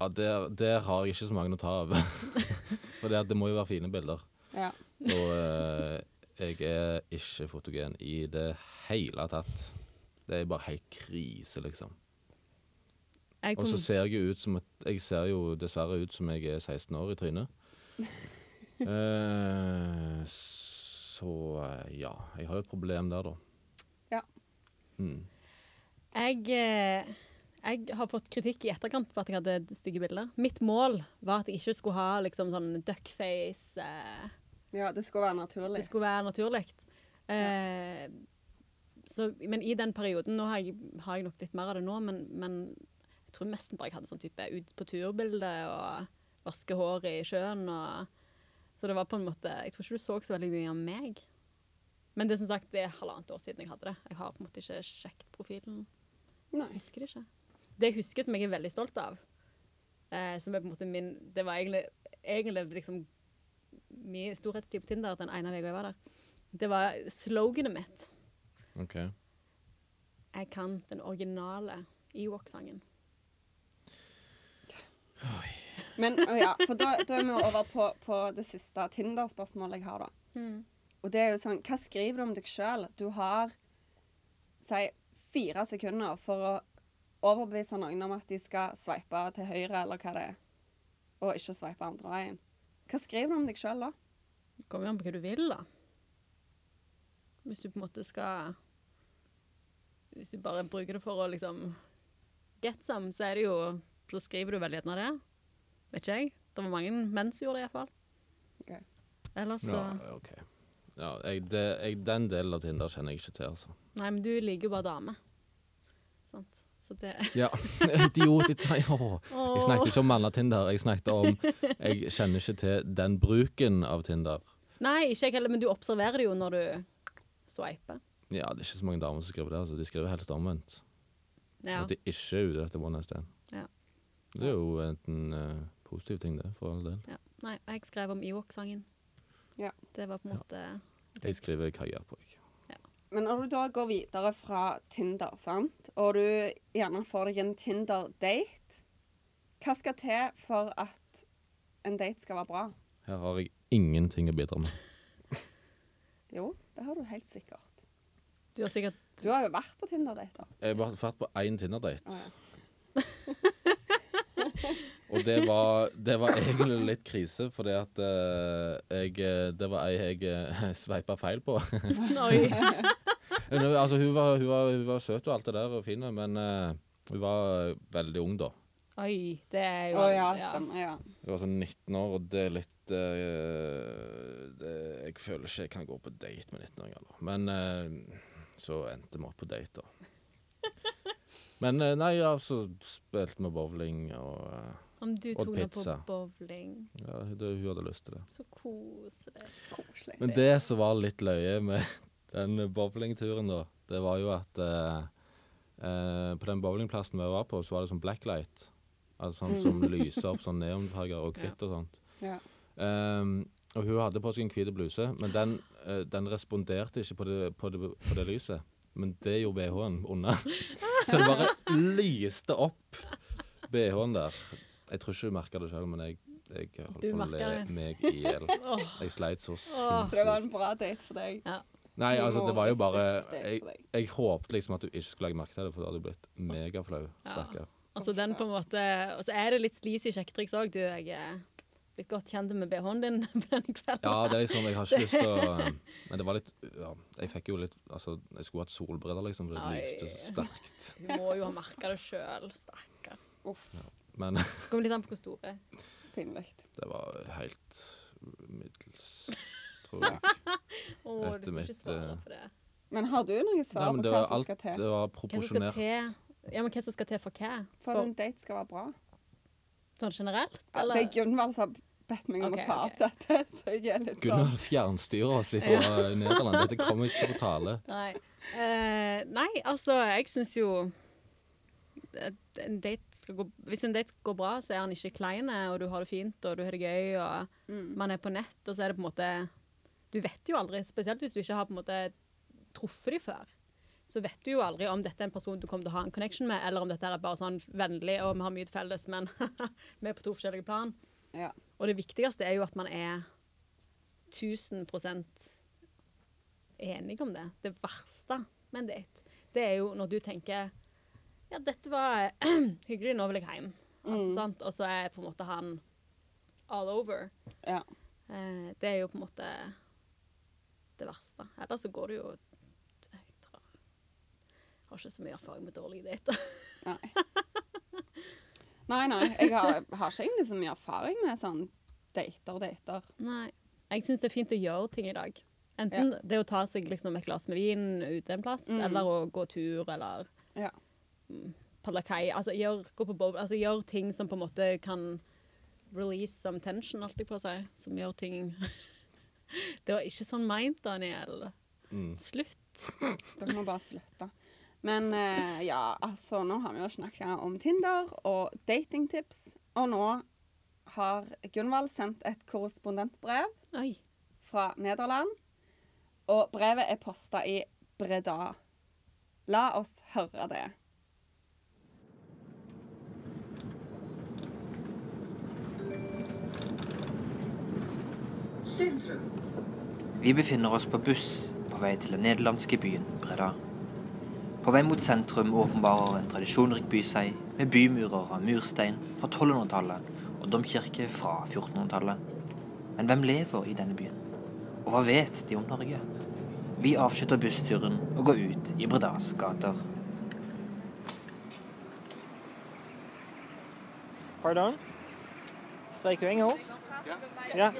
Speaker 2: Ja, der, der har jeg ikke så mange å ta av. For det, at det må jo være fine bilder.
Speaker 1: Ja.
Speaker 2: Og eh, jeg er ikke fotogen i det hele tatt. Det er bare helt krise, liksom.
Speaker 3: Jeg
Speaker 2: Og
Speaker 3: kom-
Speaker 2: så ser jeg jo ut som at Jeg ser jo dessverre ut som jeg er 16 år i trynet. Eh, så eh, ja. Jeg har jo et problem der, da.
Speaker 1: Ja.
Speaker 2: Mm.
Speaker 3: Jeg, eh, jeg har fått kritikk i etterkant på at jeg hadde stygge bilder. Mitt mål var at jeg ikke skulle ha liksom, sånn duckface. Eh,
Speaker 1: ja, det skulle være naturlig.
Speaker 3: det skulle være naturlig. Eh, så, men i den perioden Nå har jeg, har jeg nok litt mer av det nå, men, men jeg tror nesten bare jeg hadde sånn type ut på turbilde og vaske hår i sjøen og Så det var på en måte Jeg tror ikke du så så veldig mye av meg. Men det er som sagt, det er halvannet år siden jeg hadde det. Jeg har på en måte ikke sjekket profilen. Jeg
Speaker 1: Nei.
Speaker 3: husker det ikke. Det jeg husker som jeg er veldig stolt av, eh, som er på en måte min Det var egentlig, egentlig liksom min storhetstid på Tinder den ene uka jeg var der. Det var sloganet mitt.
Speaker 2: OK.
Speaker 3: Jeg kan den originale Ewok-sangen.
Speaker 1: Men å ja, for da, da er vi jo over på, på det siste Tinder-spørsmålet jeg har, da. Og det er jo sånn, hva skriver du om deg sjøl? Du har si fire sekunder for å overbevise noen om at de skal sveipe til høyre, eller hva det er, og ikke sveipe andre veien. Hva skriver du om deg sjøl da?
Speaker 3: Det kommer jo an på hva du vil, da. Hvis du på en måte skal Hvis du bare bruker det for å liksom get some, så er det jo Så skriver du veldig gjerne det. Vet ikke jeg. Det var mange menn som gjorde det, iallfall.
Speaker 1: Ok.
Speaker 3: Ellers så
Speaker 2: Ja, OK. Ja, jeg, det, jeg, den delen av Tinder kjenner jeg ikke til, altså.
Speaker 3: Nei, men du liker jo bare damer. Sant. Så det
Speaker 2: Ja, idiot. Jeg, tar- Åh, jeg snakket ikke om manna Tinder, jeg snakket om Jeg kjenner ikke til den bruken av Tinder.
Speaker 3: Nei, ikke jeg heller, men du observerer det jo når du sveiper.
Speaker 2: Ja, det er ikke så mange damer som skriver det, altså. De skriver helst omvendt.
Speaker 3: Ja.
Speaker 2: At de ikke er ute etter one night stand.
Speaker 3: Ja.
Speaker 2: Det er jo en eh, positiv ting, det, for all del.
Speaker 3: ja. Nei, jeg skrev om Ewok-sangen.
Speaker 1: Ja.
Speaker 3: Det var på en måte
Speaker 2: Jeg skriver kaja på, jeg.
Speaker 1: Men når du da går videre fra Tinder, sant, og du gjerne får deg en Tinder-date, hva skal til for at en date skal være bra?
Speaker 2: Her har jeg ingenting å bidra med.
Speaker 1: Jo, det har du helt sikkert.
Speaker 3: Du har sikkert
Speaker 1: Du har jo vært på Tinder-dater.
Speaker 2: Jeg har vært på én Tinder-date.
Speaker 1: Å, ja.
Speaker 2: Og det var, det var egentlig litt krise, fordi at eh, jeg eh, Det var ei jeg uh, sveipa feil på.
Speaker 3: Oi.
Speaker 2: Men, eh, altså, hun var, hun, var, hun var søt og alt det der og fin, men eh, hun var veldig ung da.
Speaker 3: Oi, det er jo
Speaker 1: Å ja, stemmer. Ja.
Speaker 2: Hun var sånn 19 år, og det er litt eh, det, Jeg føler ikke jeg kan gå på date med 19-åringer, da. Men eh, så endte vi opp på date, da. Men eh, nei, ja, så spilte vi bowling, og eh,
Speaker 3: Om du
Speaker 2: Og
Speaker 3: tok henne på
Speaker 2: pizza.
Speaker 3: bowling.
Speaker 2: ja, det, hun hadde lyst til det.
Speaker 3: Så koselig.
Speaker 1: Koselig.
Speaker 2: Men det som var litt løye med den bowlingturen, da, det var jo at eh, eh, På den bowlingplassen vi var på, så var det sånn blacklight. Altså sånn som lyser opp sånn neonfarger og hvitt og sånt.
Speaker 1: Ja.
Speaker 2: Ehm, og hun hadde på seg en hvit bluse, men den, eh, den responderte ikke på det, på, det, på det lyset. Men det gjorde BH-en unna. Så det bare lyste opp BH-en der. Jeg tror ikke hun merka det sjøl, men jeg, jeg holdt
Speaker 3: Du
Speaker 2: på å
Speaker 3: merket
Speaker 2: le
Speaker 3: det.
Speaker 2: meg i hjel.
Speaker 3: Åh,
Speaker 2: Jeg sleit så
Speaker 1: Så det var en
Speaker 2: sinnssykt.
Speaker 1: bra date for deg.
Speaker 2: Nei, altså, det var jo bare
Speaker 1: Humoristisk date
Speaker 2: Jeg,
Speaker 1: for deg.
Speaker 2: jeg håpte liksom at du ikke skulle legge merke til det, for da hadde du blitt megaflau. Stakkar.
Speaker 3: altså den på en måte Og så er det litt sleazy sjekketriks òg, du. Jeg er blitt godt kjent med BH-en din på denne kvelden.
Speaker 2: Ja, det er liksom Jeg har ikke lyst til å Men det var litt ja, Jeg fikk jo litt Altså, jeg skulle hatt solbriller, liksom, for det
Speaker 3: Ai.
Speaker 2: lyste så sterkt.
Speaker 3: Du må jo ha merka det sjøl, stakkar.
Speaker 1: Uff,
Speaker 2: Men
Speaker 3: Kommer litt an på hvor store.
Speaker 1: pinlig.
Speaker 2: det var helt middels, tror jeg.
Speaker 3: Å,
Speaker 2: Etter
Speaker 3: du kan
Speaker 2: mitt,
Speaker 3: ikke svare
Speaker 2: eh,
Speaker 3: på det.
Speaker 1: Men har du noen
Speaker 2: Nei,
Speaker 1: svar
Speaker 2: men
Speaker 1: på
Speaker 2: det
Speaker 1: hva
Speaker 2: var
Speaker 1: som
Speaker 2: alt
Speaker 1: skal til
Speaker 2: Det var
Speaker 3: Hva som skal
Speaker 2: proporsjonert.
Speaker 3: til? Ja, men hva som skal til for hva?
Speaker 1: for at
Speaker 3: For,
Speaker 1: en date skal være bra?
Speaker 3: sånn generelt?
Speaker 1: Ja, det
Speaker 3: Eller?
Speaker 1: er Gunvald som har bedt meg om
Speaker 3: Ok,
Speaker 1: å ta
Speaker 3: ok.
Speaker 1: opp dette, så jeg er litt sånn
Speaker 2: Gunnar fjernstyrer oss fra Nederland. Dette kommer ikke på tale.
Speaker 3: Nei. Eh, nei, altså, jeg syns jo at en date skal gå, Hvis en date går bra, så er han ikke klein, og du har det fint og du har det gøy, og
Speaker 1: Mm.
Speaker 3: man er på nett, og så er det på en måte Du vet jo aldri, spesielt hvis du ikke har på en måte truffet dem før, så vet du jo aldri om dette er en person du kommer til å ha en connection med, eller om dette er bare sånn vennlig og vi har mye til felles, men vi er på to forskjellige plan.
Speaker 1: Ja.
Speaker 3: Og det viktigste er jo at man er 1000 enig om det. Det verste med en date, det er jo når du tenker Ja, dette var hyggelig, nå vil jeg hjem. Altså, sant? Og så er på en måte han all over.
Speaker 1: Ja.
Speaker 3: Eh, det er jo på en måte det verste. Ellers så går det jo Jeg tror, har ikke så mye erfaring med dårlige dater.
Speaker 1: Nei. sånn- Nei, nei. Jeg har, har ikke egentlig så mye erfaring med sånn dater, dater.
Speaker 3: Nei. Jeg syns det er fint å gjøre ting i dag. Enten det å ta seg liksom, et glass med vin ute en plass, eller å gå tur, eller
Speaker 1: Ja.
Speaker 3: padle kai. Altså, gjør, gå på bowl, altså, gjør ting som på en måte kan release some tension, alltid på seg. Som gjør ting Det var ikke sånn meint, Daniel. Slutt.
Speaker 1: Dere må bare slutte. Men eh, ja, altså, nå har vi jo snakka om Tinder og datingtips, og nå har Gunvald sendt et korrespondentbrev
Speaker 3: Oi.
Speaker 1: fra Nederland. Og brevet er posta i Breda. La oss høre det.
Speaker 4: Vi befinner oss på buss på vei til den nederlandske byen Breda. På vei mot sentrum åpenbarer en tradisjonrik by seg, med bymurer av murstein fra 1200-tallet og domkirke fra 1400-tallet. Men hvem lever i denne byen? Og hva vet de om Norge? Vi avslutter bussturen og går ut i Bredas gater. Pardon? Spreker du engelsk? Yeah.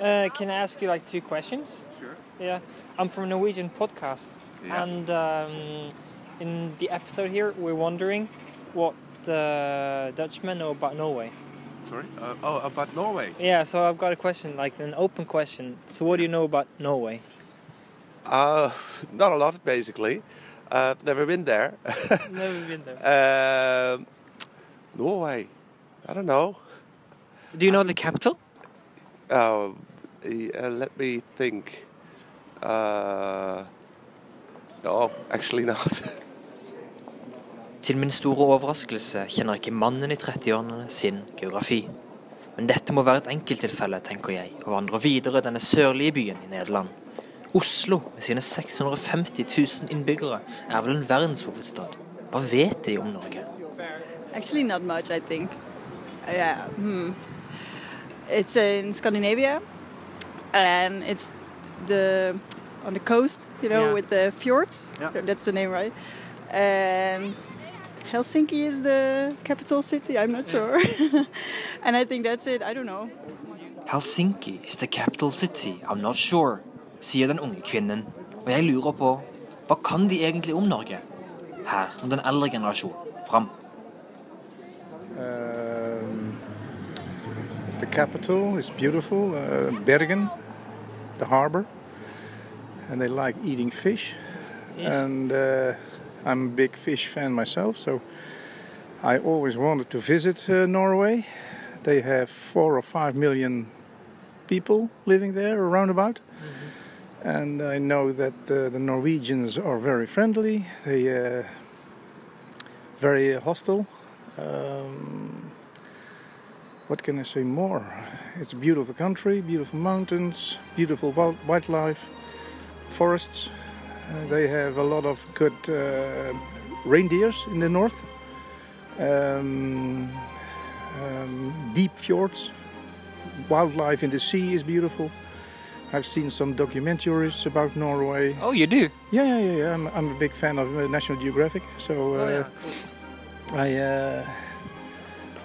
Speaker 4: Uh, can I ask you like two questions?
Speaker 5: Sure.
Speaker 4: Yeah, I'm from Norwegian podcast,
Speaker 5: Yeah.
Speaker 4: and um, in the episode here, we're wondering what uh, Dutchmen know about Norway.
Speaker 5: Sorry? Uh, oh, about Norway.
Speaker 4: Yeah, so I've got a question, like an open question. So, what do you know about Norway?
Speaker 5: Uh, not a lot, basically. Uh, never been there.
Speaker 4: Never been there.
Speaker 5: Um Norway. I don't know.
Speaker 4: Do you know the capital?
Speaker 5: Um, y- uh, let me think. Uh, no, actually not.
Speaker 6: Til min store overraskelse kjenner ikke mannen i 30-årene sin geografi. Men dette må være et enkelttilfelle, tenker jeg, og vandrer videre denne sørlige byen i Nederland. Oslo, med sine 650 000 innbyggere, er vel en verdenshovedstad. Hva vet de om Norge?
Speaker 7: Actually, not much, I think. Yeah. Hmm. It's in Scandinavia, and it's the on the coast, you know,
Speaker 4: Yeah.
Speaker 7: with the fjords.
Speaker 4: Yeah.
Speaker 7: That's the name, right? And Helsinki is the capital city. I'm not sure, and I think that's it. I don't know.
Speaker 6: Helsinki is the capital city, I'm not sure, sier den unge kvinnen. Og jeg lurer på, hva kan de egentlig om Norge? Her må den eldre generasjonen fram.
Speaker 8: Um, the capital is beautiful, uh, Bergen, the harbor, and they like eating fish. And uh, I'm a big fish fan myself, so I always wanted to visit uh, Norway. They have four or five million people living there, around about. And I know that uh, the Norwegians are very friendly. They uh, very hostile. Um, what can I say more? It's a beautiful country, beautiful mountains, beautiful wild, wildlife, forests. Uh, they have a lot of good uh, reindeers in the north, um, um, deep fjords. Wildlife in the sea is beautiful. I've seen some documentaries about Norway.
Speaker 6: Oh, you do?
Speaker 8: Yeah, yeah, yeah. yeah. I'm, I'm a big fan of uh, National Geographic, so uh,
Speaker 6: Oh,
Speaker 8: I uh,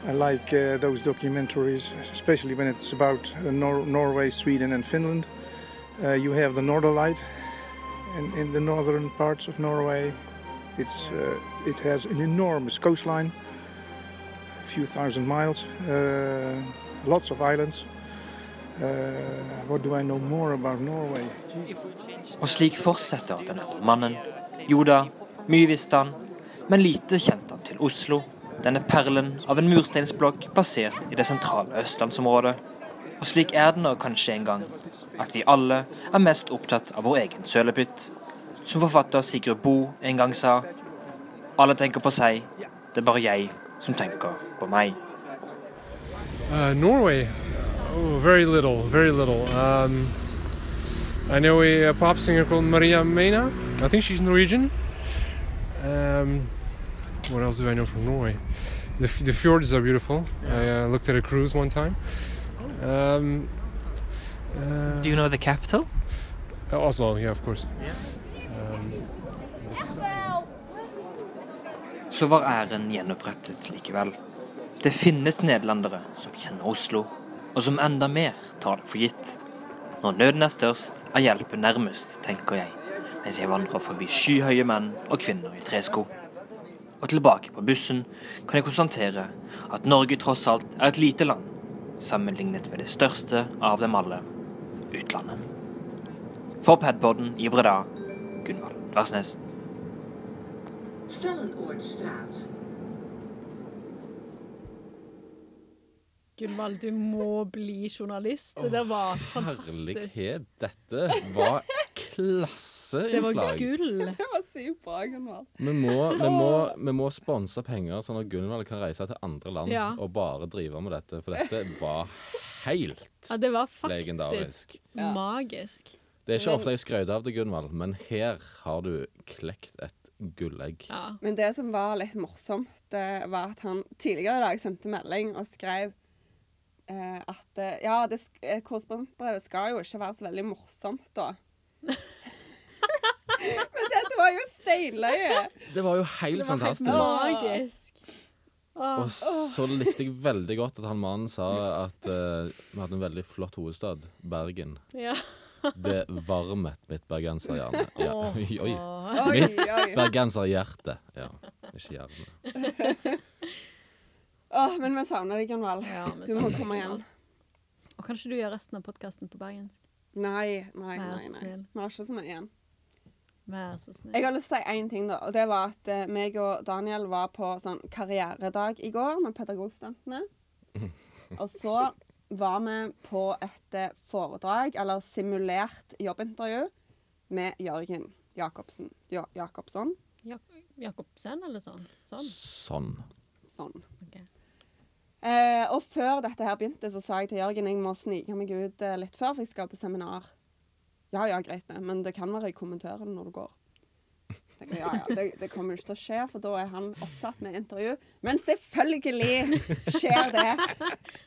Speaker 8: I like uh, those documentaries, especially when it's about uh, Nor- Norway, Sweden, and Finland. Uh, you have the Norderlight, and in the northern parts of Norway, it's uh, it has an enormous coastline, a few thousand miles, uh, lots of islands. Uh, what do I know more about Norway?
Speaker 6: Og slik fortsetter den eldre mannen. Jo da, mye visste han, men lite kjente han til Oslo. Denne perlen av en mursteinsblokk plassert i det sentrale østlandsområdet. Og slik er det nå kanskje en gang, at vi alle er mest opptatt av vår egen sølepytt. Som forfatter Sigurd Bo en gang sa, alle tenker på seg, det er bare jeg som tenker på meg.
Speaker 9: Uh, Norway, oh, very little, very little. Um, I know a pop singer called Maria Mena. I think she's Norwegian. Um, what else do I know from Norway? The, f- the fjords are beautiful. I uh, looked at a cruise one time. Um, uh,
Speaker 6: Do you know the capital?
Speaker 9: uh, Oslo, yeah, of course. Um, besides-
Speaker 6: så var æren gjenopprettet likevel. Det finnes nederlendere som kjenner Oslo, og som enda mer tar det for gitt. Når nøden er størst, er hjelpen nærmest, tenker jeg, mens jeg vandrer forbi skyhøye menn og kvinner i tresko. Og tilbake på bussen kan jeg konstatere at Norge tross alt er et lite land, sammenlignet med det største av dem alle utlandet. For padboarden i Breda, Gunvald Dvarsnes.
Speaker 3: Gunvald, du må bli journalist. Det der var fantastisk.
Speaker 2: Herlighet, dette var
Speaker 3: Det var
Speaker 2: klasseinnslag.
Speaker 3: gull.
Speaker 1: Det var sykt bra, Gunvald.
Speaker 2: Vi må, vi, må, vi må sponse penger, sånn at Gunvald kan reise til andre land
Speaker 3: Ja.
Speaker 2: og bare drive med dette. For dette var helt
Speaker 3: Ja, det var
Speaker 2: Legendarisk.
Speaker 3: faktisk magisk.
Speaker 2: Det er ikke
Speaker 1: Men-
Speaker 2: ofte jeg skryter av det, Gunvald, men her har du klekt et gullegg.
Speaker 3: Ja.
Speaker 1: Men det som var litt morsomt, det var at han tidligere i dag sendte melding og skrev eh, at eh, Ja, det sk- eh, korrespondentbrevet skal jo ikke være så veldig morsomt, da. Men dette var jo steinløye!
Speaker 2: Det var jo helt
Speaker 1: Det var helt
Speaker 2: fantastisk.
Speaker 3: Magisk.
Speaker 2: Og så likte jeg veldig godt at han mannen sa at eh, vi hadde en veldig flott hovedstad, Bergen.
Speaker 3: Ja.
Speaker 2: Det varmet mitt bergenserhjerne. Ja. Oi, oi.
Speaker 3: Åh.
Speaker 1: Oi, oi.
Speaker 2: Bergenserhjerte. Ja, ikke hjerne.
Speaker 1: Åh, men vi savner deg, Gunvald.
Speaker 3: Ja, vi
Speaker 1: du må
Speaker 3: savner deg,
Speaker 1: komme hjem.
Speaker 3: Gunvald. Og kan ikke du gjøre resten av podkasten på bergensk?
Speaker 1: Nei, nei,
Speaker 3: Vær
Speaker 1: nei.
Speaker 3: så
Speaker 1: nei.
Speaker 3: snill.
Speaker 1: Vi har ikke så mye igjen.
Speaker 3: Vær så snill.
Speaker 1: Jeg har lyst til å si én ting, da. Og det var at eh, meg og Daniel var på sånn karrieredag i går med pedagogstudentene. Og så var vi på et eh, foredrag, eller simulert jobbintervju, med Jørgen Jacobsen. Ja, Jacobson.
Speaker 3: Jak Jakobsen, eller sånn? Sånn?
Speaker 2: Sånn.
Speaker 1: Sånn.
Speaker 3: Ok.
Speaker 1: Eh, og før dette her begynte, så sa jeg til Jørgen jeg må snike meg ut eh, litt før, for jeg skal på seminar. Ja, ja, greit det, men det kan være i kommentarene når du går. Jeg Tenker, ja, ja, det, det kommer jo ikke til å skje, for da er han opptatt med intervju. Men selvfølgelig skjer det!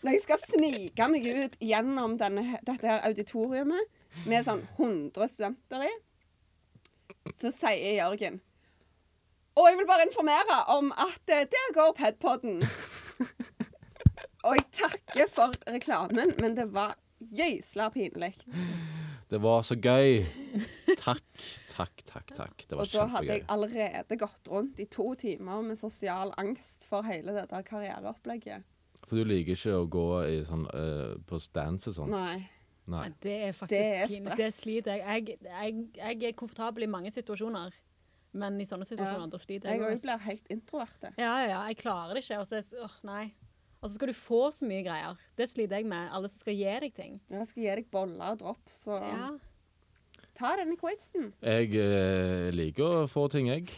Speaker 1: Når jeg skal snike meg ut gjennom denne, dette her auditoriumet med sånn 100 studenter i, så sier Jørgen Og jeg vil bare informere om at eh, der går Pedpodden. Og jeg takker for reklamen, men det var gøysla pinlig.
Speaker 2: Det var så gøy. Takk, takk, takk. takk. Det
Speaker 1: Og
Speaker 2: var
Speaker 1: da hadde jeg
Speaker 2: kjempegøy.
Speaker 1: allerede gått rundt i to timer med sosial angst for hele det der karriereopplegget.
Speaker 2: For du liker ikke å gå i sånn, eh, på stands og sånn?
Speaker 1: Nei.
Speaker 2: Nei.
Speaker 3: Nei, det er faktisk
Speaker 1: Det er
Speaker 3: pin- Det
Speaker 1: stress.
Speaker 3: sliter jeg. Jeg, jeg. jeg er komfortabel i mange situasjoner, men i sånne
Speaker 1: Ja.
Speaker 3: situasjoner da sliter
Speaker 1: Jeg
Speaker 3: jeg.
Speaker 1: òg
Speaker 3: ass.
Speaker 1: blir helt introvert.
Speaker 3: Ja, ja, ja, jeg klarer det ikke. Og så er jeg så- åh, nei. Og så skal du få så mye greier. Det sliter jeg med. Alle som skal gi deg ting.
Speaker 1: Jeg skal gi deg boller og drops, så
Speaker 3: Ja.
Speaker 1: ta denne quizen.
Speaker 2: Jeg eh, liker å få ting, jeg.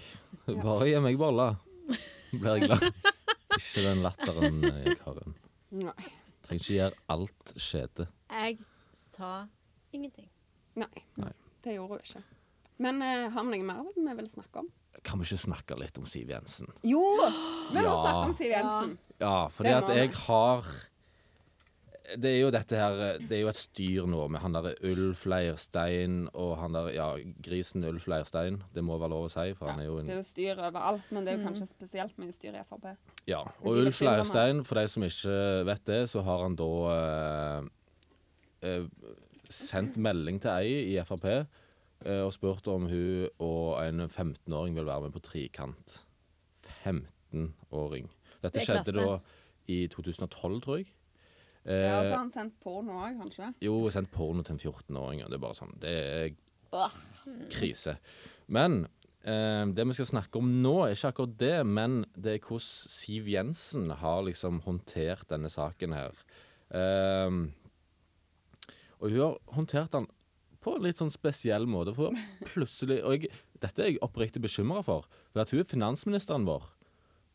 Speaker 2: Bare gi meg boller. Blir jeg glad. Ikke den latteren jeg har.
Speaker 1: Nei.
Speaker 2: Trenger ikke gjøre alt skjede.
Speaker 3: Jeg sa ingenting.
Speaker 1: Nei.
Speaker 2: Nei.
Speaker 1: Det gjorde hun ikke. Men eh, har vi noe mer vi vil snakke om?
Speaker 2: Kan vi ikke snakke litt om Siv Jensen?
Speaker 1: Jo! Vi må
Speaker 2: Ja.
Speaker 1: snakke om Siv Jensen.
Speaker 2: Ja, fordi
Speaker 1: Det
Speaker 2: at
Speaker 1: må
Speaker 2: jeg
Speaker 1: vi.
Speaker 2: har Det er jo dette her Det er jo et styr nå med han derre Ulf Leirstein og han der Ja, grisen Ulf Leirstein. Det må være lov å si, for han er jo
Speaker 1: Det er
Speaker 2: en
Speaker 1: jo styr overalt, men det er jo kanskje spesielt mye styr i Frp.
Speaker 2: Ja.
Speaker 1: det
Speaker 2: Og
Speaker 1: er
Speaker 2: Ulf
Speaker 1: filmen, da.
Speaker 2: Leirstein, for de som ikke vet det, så har han da eh, eh, sendt melding til ei i Frp eh, og spurt om hun og en 15-åring vil være med på Trikant. 15-åring. Dette
Speaker 3: Det er
Speaker 2: skjedde da
Speaker 3: klasse.
Speaker 2: i 2012, tror jeg.
Speaker 1: Ja, og
Speaker 2: Eh,
Speaker 1: så har han sendt porno òg, kanskje.
Speaker 2: jo, sendt porno til en 14-åring, og det er bare sånn Det er
Speaker 1: Åh.
Speaker 2: krise. Men eh, det vi skal snakke om nå, er ikke akkurat det, men det er hvordan Siv Jensen har liksom håndtert denne saken her. Eh, og hun har håndtert den på en litt sånn spesiell måte, for hun har plutselig Og jeg, dette er jeg oppriktig bekymra for, for at hun er finansministeren vår,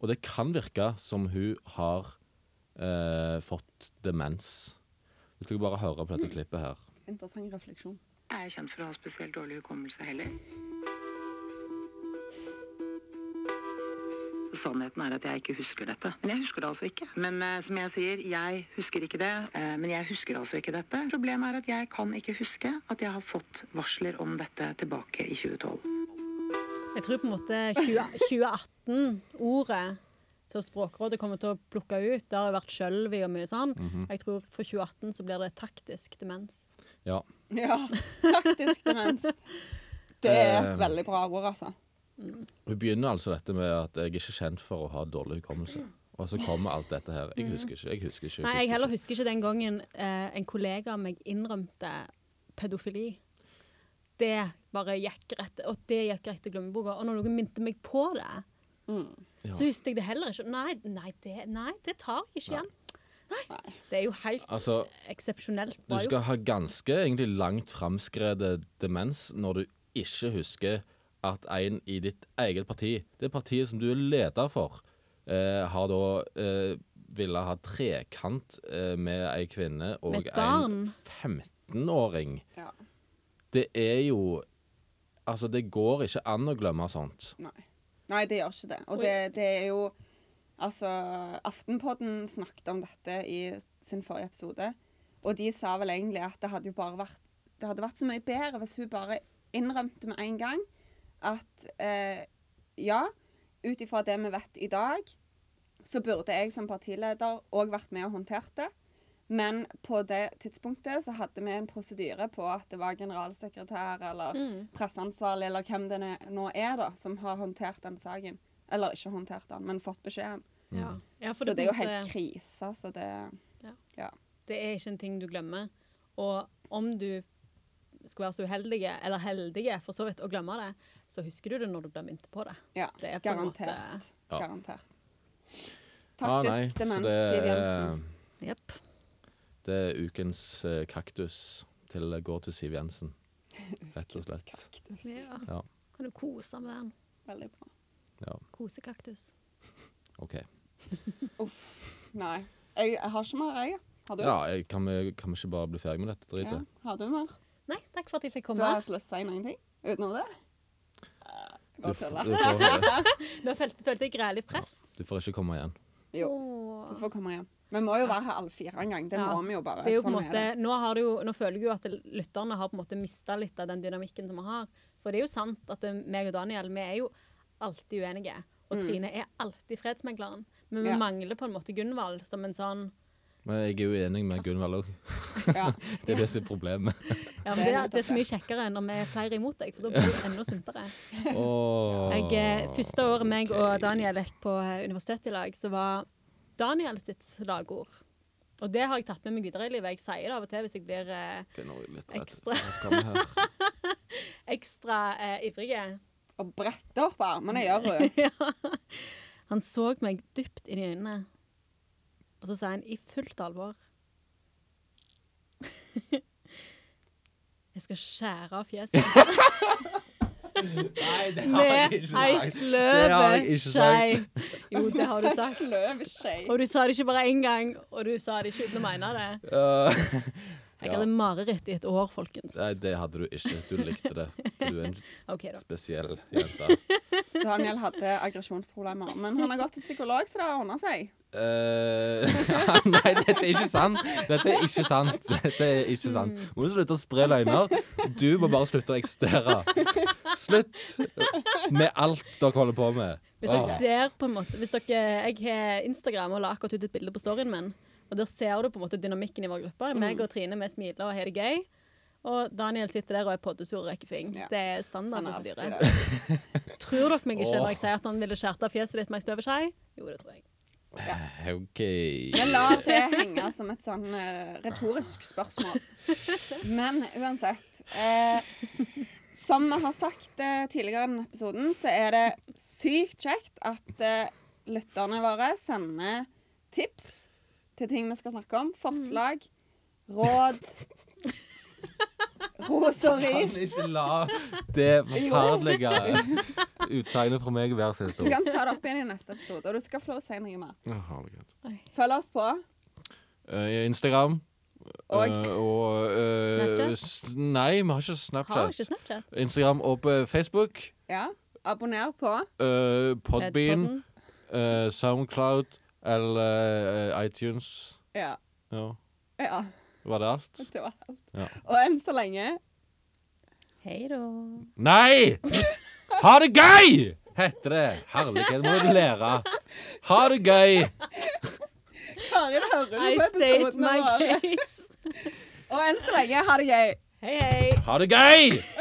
Speaker 2: og det kan virke som hun har eh, fått demens. Hvis dere bare hører på dette klippet her.
Speaker 1: Interessant refleksjon.
Speaker 10: Jeg er kjent for å ha spesielt dårlig hukommelse heller. Sannheten er at jeg ikke husker dette. Men jeg husker det altså ikke. Men eh, som jeg sier, jeg husker ikke det. eh, men jeg husker altså ikke dette. Problemet er at jeg kan ikke huske at jeg har fått varsler om dette tilbake i 2012.
Speaker 3: Jeg tror på en måte 2018, ordet som Språkrådet kommer til å plukke ut, det har jo vært skjølvi og mye sånn.
Speaker 2: Mhm.
Speaker 3: Jeg tror for 2018 så blir det taktisk demens.
Speaker 2: Ja.
Speaker 1: Ja, faktisk demens. Det er
Speaker 2: Eh,
Speaker 1: et veldig bra ord, altså.
Speaker 2: Hun begynner altså dette med at jeg er ikke kjent for å ha dårlig hukommelse. Og så kommer alt dette her. Jeg husker ikke. jeg husker ikke.
Speaker 3: Nei, jeg
Speaker 2: husker
Speaker 3: heller
Speaker 2: ikke.
Speaker 3: husker ikke den gangen eh, en kollega av meg innrømte pedofili. Det bare gikk rett, og det gikk rett i glemmeboka. Og når noen minte meg på det,
Speaker 1: Mm.
Speaker 3: så husket jeg det heller ikke. Nei, nei, det, nei, det tar jeg ikke igjen. Nei. Det er jo helt
Speaker 2: Altså,
Speaker 3: eksepsjonelt
Speaker 2: du
Speaker 3: bra
Speaker 2: skal
Speaker 3: gjort.
Speaker 2: ha ganske egentlig langt framskredet demens når du ikke husker at en i ditt eget parti, det partiet som du er leder for, eh, har da eh, ville ha trekant eh, med ei kvinne og
Speaker 3: Med et barn.
Speaker 2: en 15-åring.
Speaker 1: Ja.
Speaker 2: det er jo Altså, det går ikke an å glemme sånt.
Speaker 1: Nei. Nei, det gjør ikke det. Og det, det er jo Altså, Aftenpodden snakket om dette i sin forrige episode, og de sa vel egentlig at det hadde jo bare vært Det hadde vært så mye bedre hvis hun bare innrømte med en gang at eh, ja, ut ifra det vi vet i dag, så burde jeg som partileder òg vært med og håndtert det. Men på det tidspunktet så hadde vi en prosedyre på at det var generalsekretær eller
Speaker 3: Mm.
Speaker 1: presseansvarlig eller hvem det nå er, da, som har håndtert den saken. Eller ikke håndtert den, men fått beskjeden.
Speaker 3: Ja.
Speaker 2: Mm.
Speaker 3: Ja, for
Speaker 1: Så det er jo
Speaker 3: på en
Speaker 1: helt
Speaker 3: måte-
Speaker 1: krise, så det
Speaker 3: Ja.
Speaker 1: Ja.
Speaker 3: Det er ikke en ting du glemmer. Og om du skulle være så uheldig, eller heldig for så vidt, å glemme det, så husker du det når du blir minnet på det.
Speaker 1: ja.
Speaker 3: Det er på en måte-
Speaker 1: Garantert.
Speaker 2: Ja.
Speaker 1: Garantert.
Speaker 2: Ah,
Speaker 1: Taktisk
Speaker 2: nei, så
Speaker 1: demens,
Speaker 2: det
Speaker 1: Siv
Speaker 2: er-
Speaker 1: Jensen.
Speaker 3: Jepp.
Speaker 2: Det er ukens eh, kaktus til går til Siv Jensen, rett og slett.
Speaker 1: Kaktus.
Speaker 3: Ja.
Speaker 2: Ja.
Speaker 3: Kan du kose med den?
Speaker 1: Veldig bra.
Speaker 2: ja.
Speaker 3: Kosekaktus.
Speaker 2: OK.
Speaker 1: Nei. Jeg, jeg har ikke mer, jeg. Har du?
Speaker 2: Ja, jeg, kan, vi, kan vi ikke bare bli ferdig med dette dritet?
Speaker 1: Ja. Har du mer?
Speaker 3: Nei, takk for at jeg fikk
Speaker 1: Du
Speaker 3: komme.
Speaker 1: har ikke lyst til å si noen ting utenom det? Eh,
Speaker 2: Du,
Speaker 1: Bare
Speaker 2: f-
Speaker 1: tuller.
Speaker 2: du, får,
Speaker 3: Nå følte, følte jeg grælig press.
Speaker 2: du får ikke komme igjen.
Speaker 1: Jo,
Speaker 3: Åh.
Speaker 1: du får komme hjem. Vi må jo være her alle fire en gang. Det
Speaker 3: Ja.
Speaker 1: må vi jo bare.
Speaker 3: Det er jo på en
Speaker 1: Sånn
Speaker 3: måte, nå, har det jo, nå føler jeg jo at lytterne har på en måte mista litt av den dynamikken som vi har. For det er jo sant at det, meg og Daniel vi er jo alltid uenige. Og Trine er alltid fredsmegleren. Men vi
Speaker 1: Mm. Ja.
Speaker 3: mangler på en måte Gunvald som en sånn
Speaker 2: Men jeg er jo enig med Gunvald òg.
Speaker 1: Ja.
Speaker 2: Det er det som er problemet.
Speaker 3: ja, men
Speaker 1: Det er
Speaker 3: det, er-
Speaker 1: nettopp
Speaker 3: det er så mye kjekkere når vi er flere imot deg, for da blir du enda sintere.
Speaker 2: Åh.
Speaker 3: Jeg, eh, første året meg og
Speaker 2: ok.
Speaker 3: Daniel gikk på eh, universitetet i lag, så var Daniel sitt slagord. Og det har jeg tatt med meg videre i livet. Jeg sier det av og til hvis jeg blir eh,
Speaker 2: Ok, nå er jeg litt redd.
Speaker 3: ekstra,
Speaker 2: Hva skal vi her?
Speaker 3: ekstra eh, ivrige.
Speaker 1: Og brette opp armene gjør hun.
Speaker 3: ja. Han så meg dypt inn i øynene, og så sa han i fullt alvor Jeg skal skjære av fjeset med ei sløv
Speaker 2: ikke
Speaker 3: skei. Jo, det har du sagt.
Speaker 1: Sløv skje.
Speaker 3: Og du sa det ikke bare én gang, og du sa det ikke uten å mene det. Jeg hadde mareritt i et år, folkens.
Speaker 2: Nei, det hadde du ikke. Du likte det. For du er en
Speaker 3: OK, da.
Speaker 2: spesiell jente.
Speaker 1: Daniel hadde aggresjonsproblemer, men han har gått til psykolog, så det har ordna seg.
Speaker 2: Eh, nei, dette er ikke sant. Dette er ikke sant. Dette er ikke sant. Må du slutte å spre løgner? Du må bare slutte å eksistere. Slutt med alt dere holder på med.
Speaker 3: Hvis dere
Speaker 2: Åh.
Speaker 3: ser på en måte hvis dere, Jeg har Instagram og la akkurat ut et bilde på storyen min. Og Der ser du på en måte dynamikken i vår gruppe.
Speaker 1: Mm.
Speaker 3: Meg og Trine vi smiler og har det gøy. Og Daniel sitter der og er poddesur og rekker fing.
Speaker 1: Ja.
Speaker 3: Det er
Speaker 1: Han er alltid
Speaker 3: standardprosedyre.
Speaker 1: det.
Speaker 3: Tror dere meg ikke
Speaker 2: Åh.
Speaker 3: når jeg sier at han ville skjært av fjeset ditt med ei støveskei? Jo, det tror jeg.
Speaker 2: OK.
Speaker 1: Vi lar det henge som et sånn eh, retorisk spørsmål. Men uansett eh, Som vi har sagt eh, tidligere i denne episoden, så er det sykt kjekt at eh, lytterne våre sender tips til ting vi skal snakke om. Forslag, råd, ros og
Speaker 2: Kan
Speaker 1: ris.
Speaker 2: ikke la det forferdelige utsagnet fra meg være så
Speaker 1: Du
Speaker 2: stort.
Speaker 1: kan ta det opp igjen i neste episode, og du skal få lov å si noe mer.
Speaker 2: Å, herregud.
Speaker 1: Følg oss på
Speaker 2: Eh, Instagram.
Speaker 1: Og?
Speaker 2: Eh, og eh,
Speaker 3: Snapchat?
Speaker 2: s- Nei, vi har ikke Snapchat.
Speaker 3: Har ikke Snapchat.
Speaker 2: Instagram og på Facebook.
Speaker 1: Ja, abonner på
Speaker 2: eh, Podbean.
Speaker 3: Podden.
Speaker 2: eh, Soundcloud eller eh, iTunes.
Speaker 1: Ja.
Speaker 2: Ja.
Speaker 1: ja
Speaker 2: Var det alt?
Speaker 1: det var alt.
Speaker 2: Ja.
Speaker 1: Og enn så lenge
Speaker 3: Hei da.
Speaker 2: Nei! Ha det gøy! Heter det. Herlighet, må du lære. Ha det gøy.
Speaker 1: Karin hører du på
Speaker 3: I state
Speaker 1: episoden
Speaker 3: my
Speaker 1: vår.
Speaker 3: case.
Speaker 1: Og enn så lenge, ha det gøy.
Speaker 3: Hei, hei.
Speaker 2: Ha det gøy!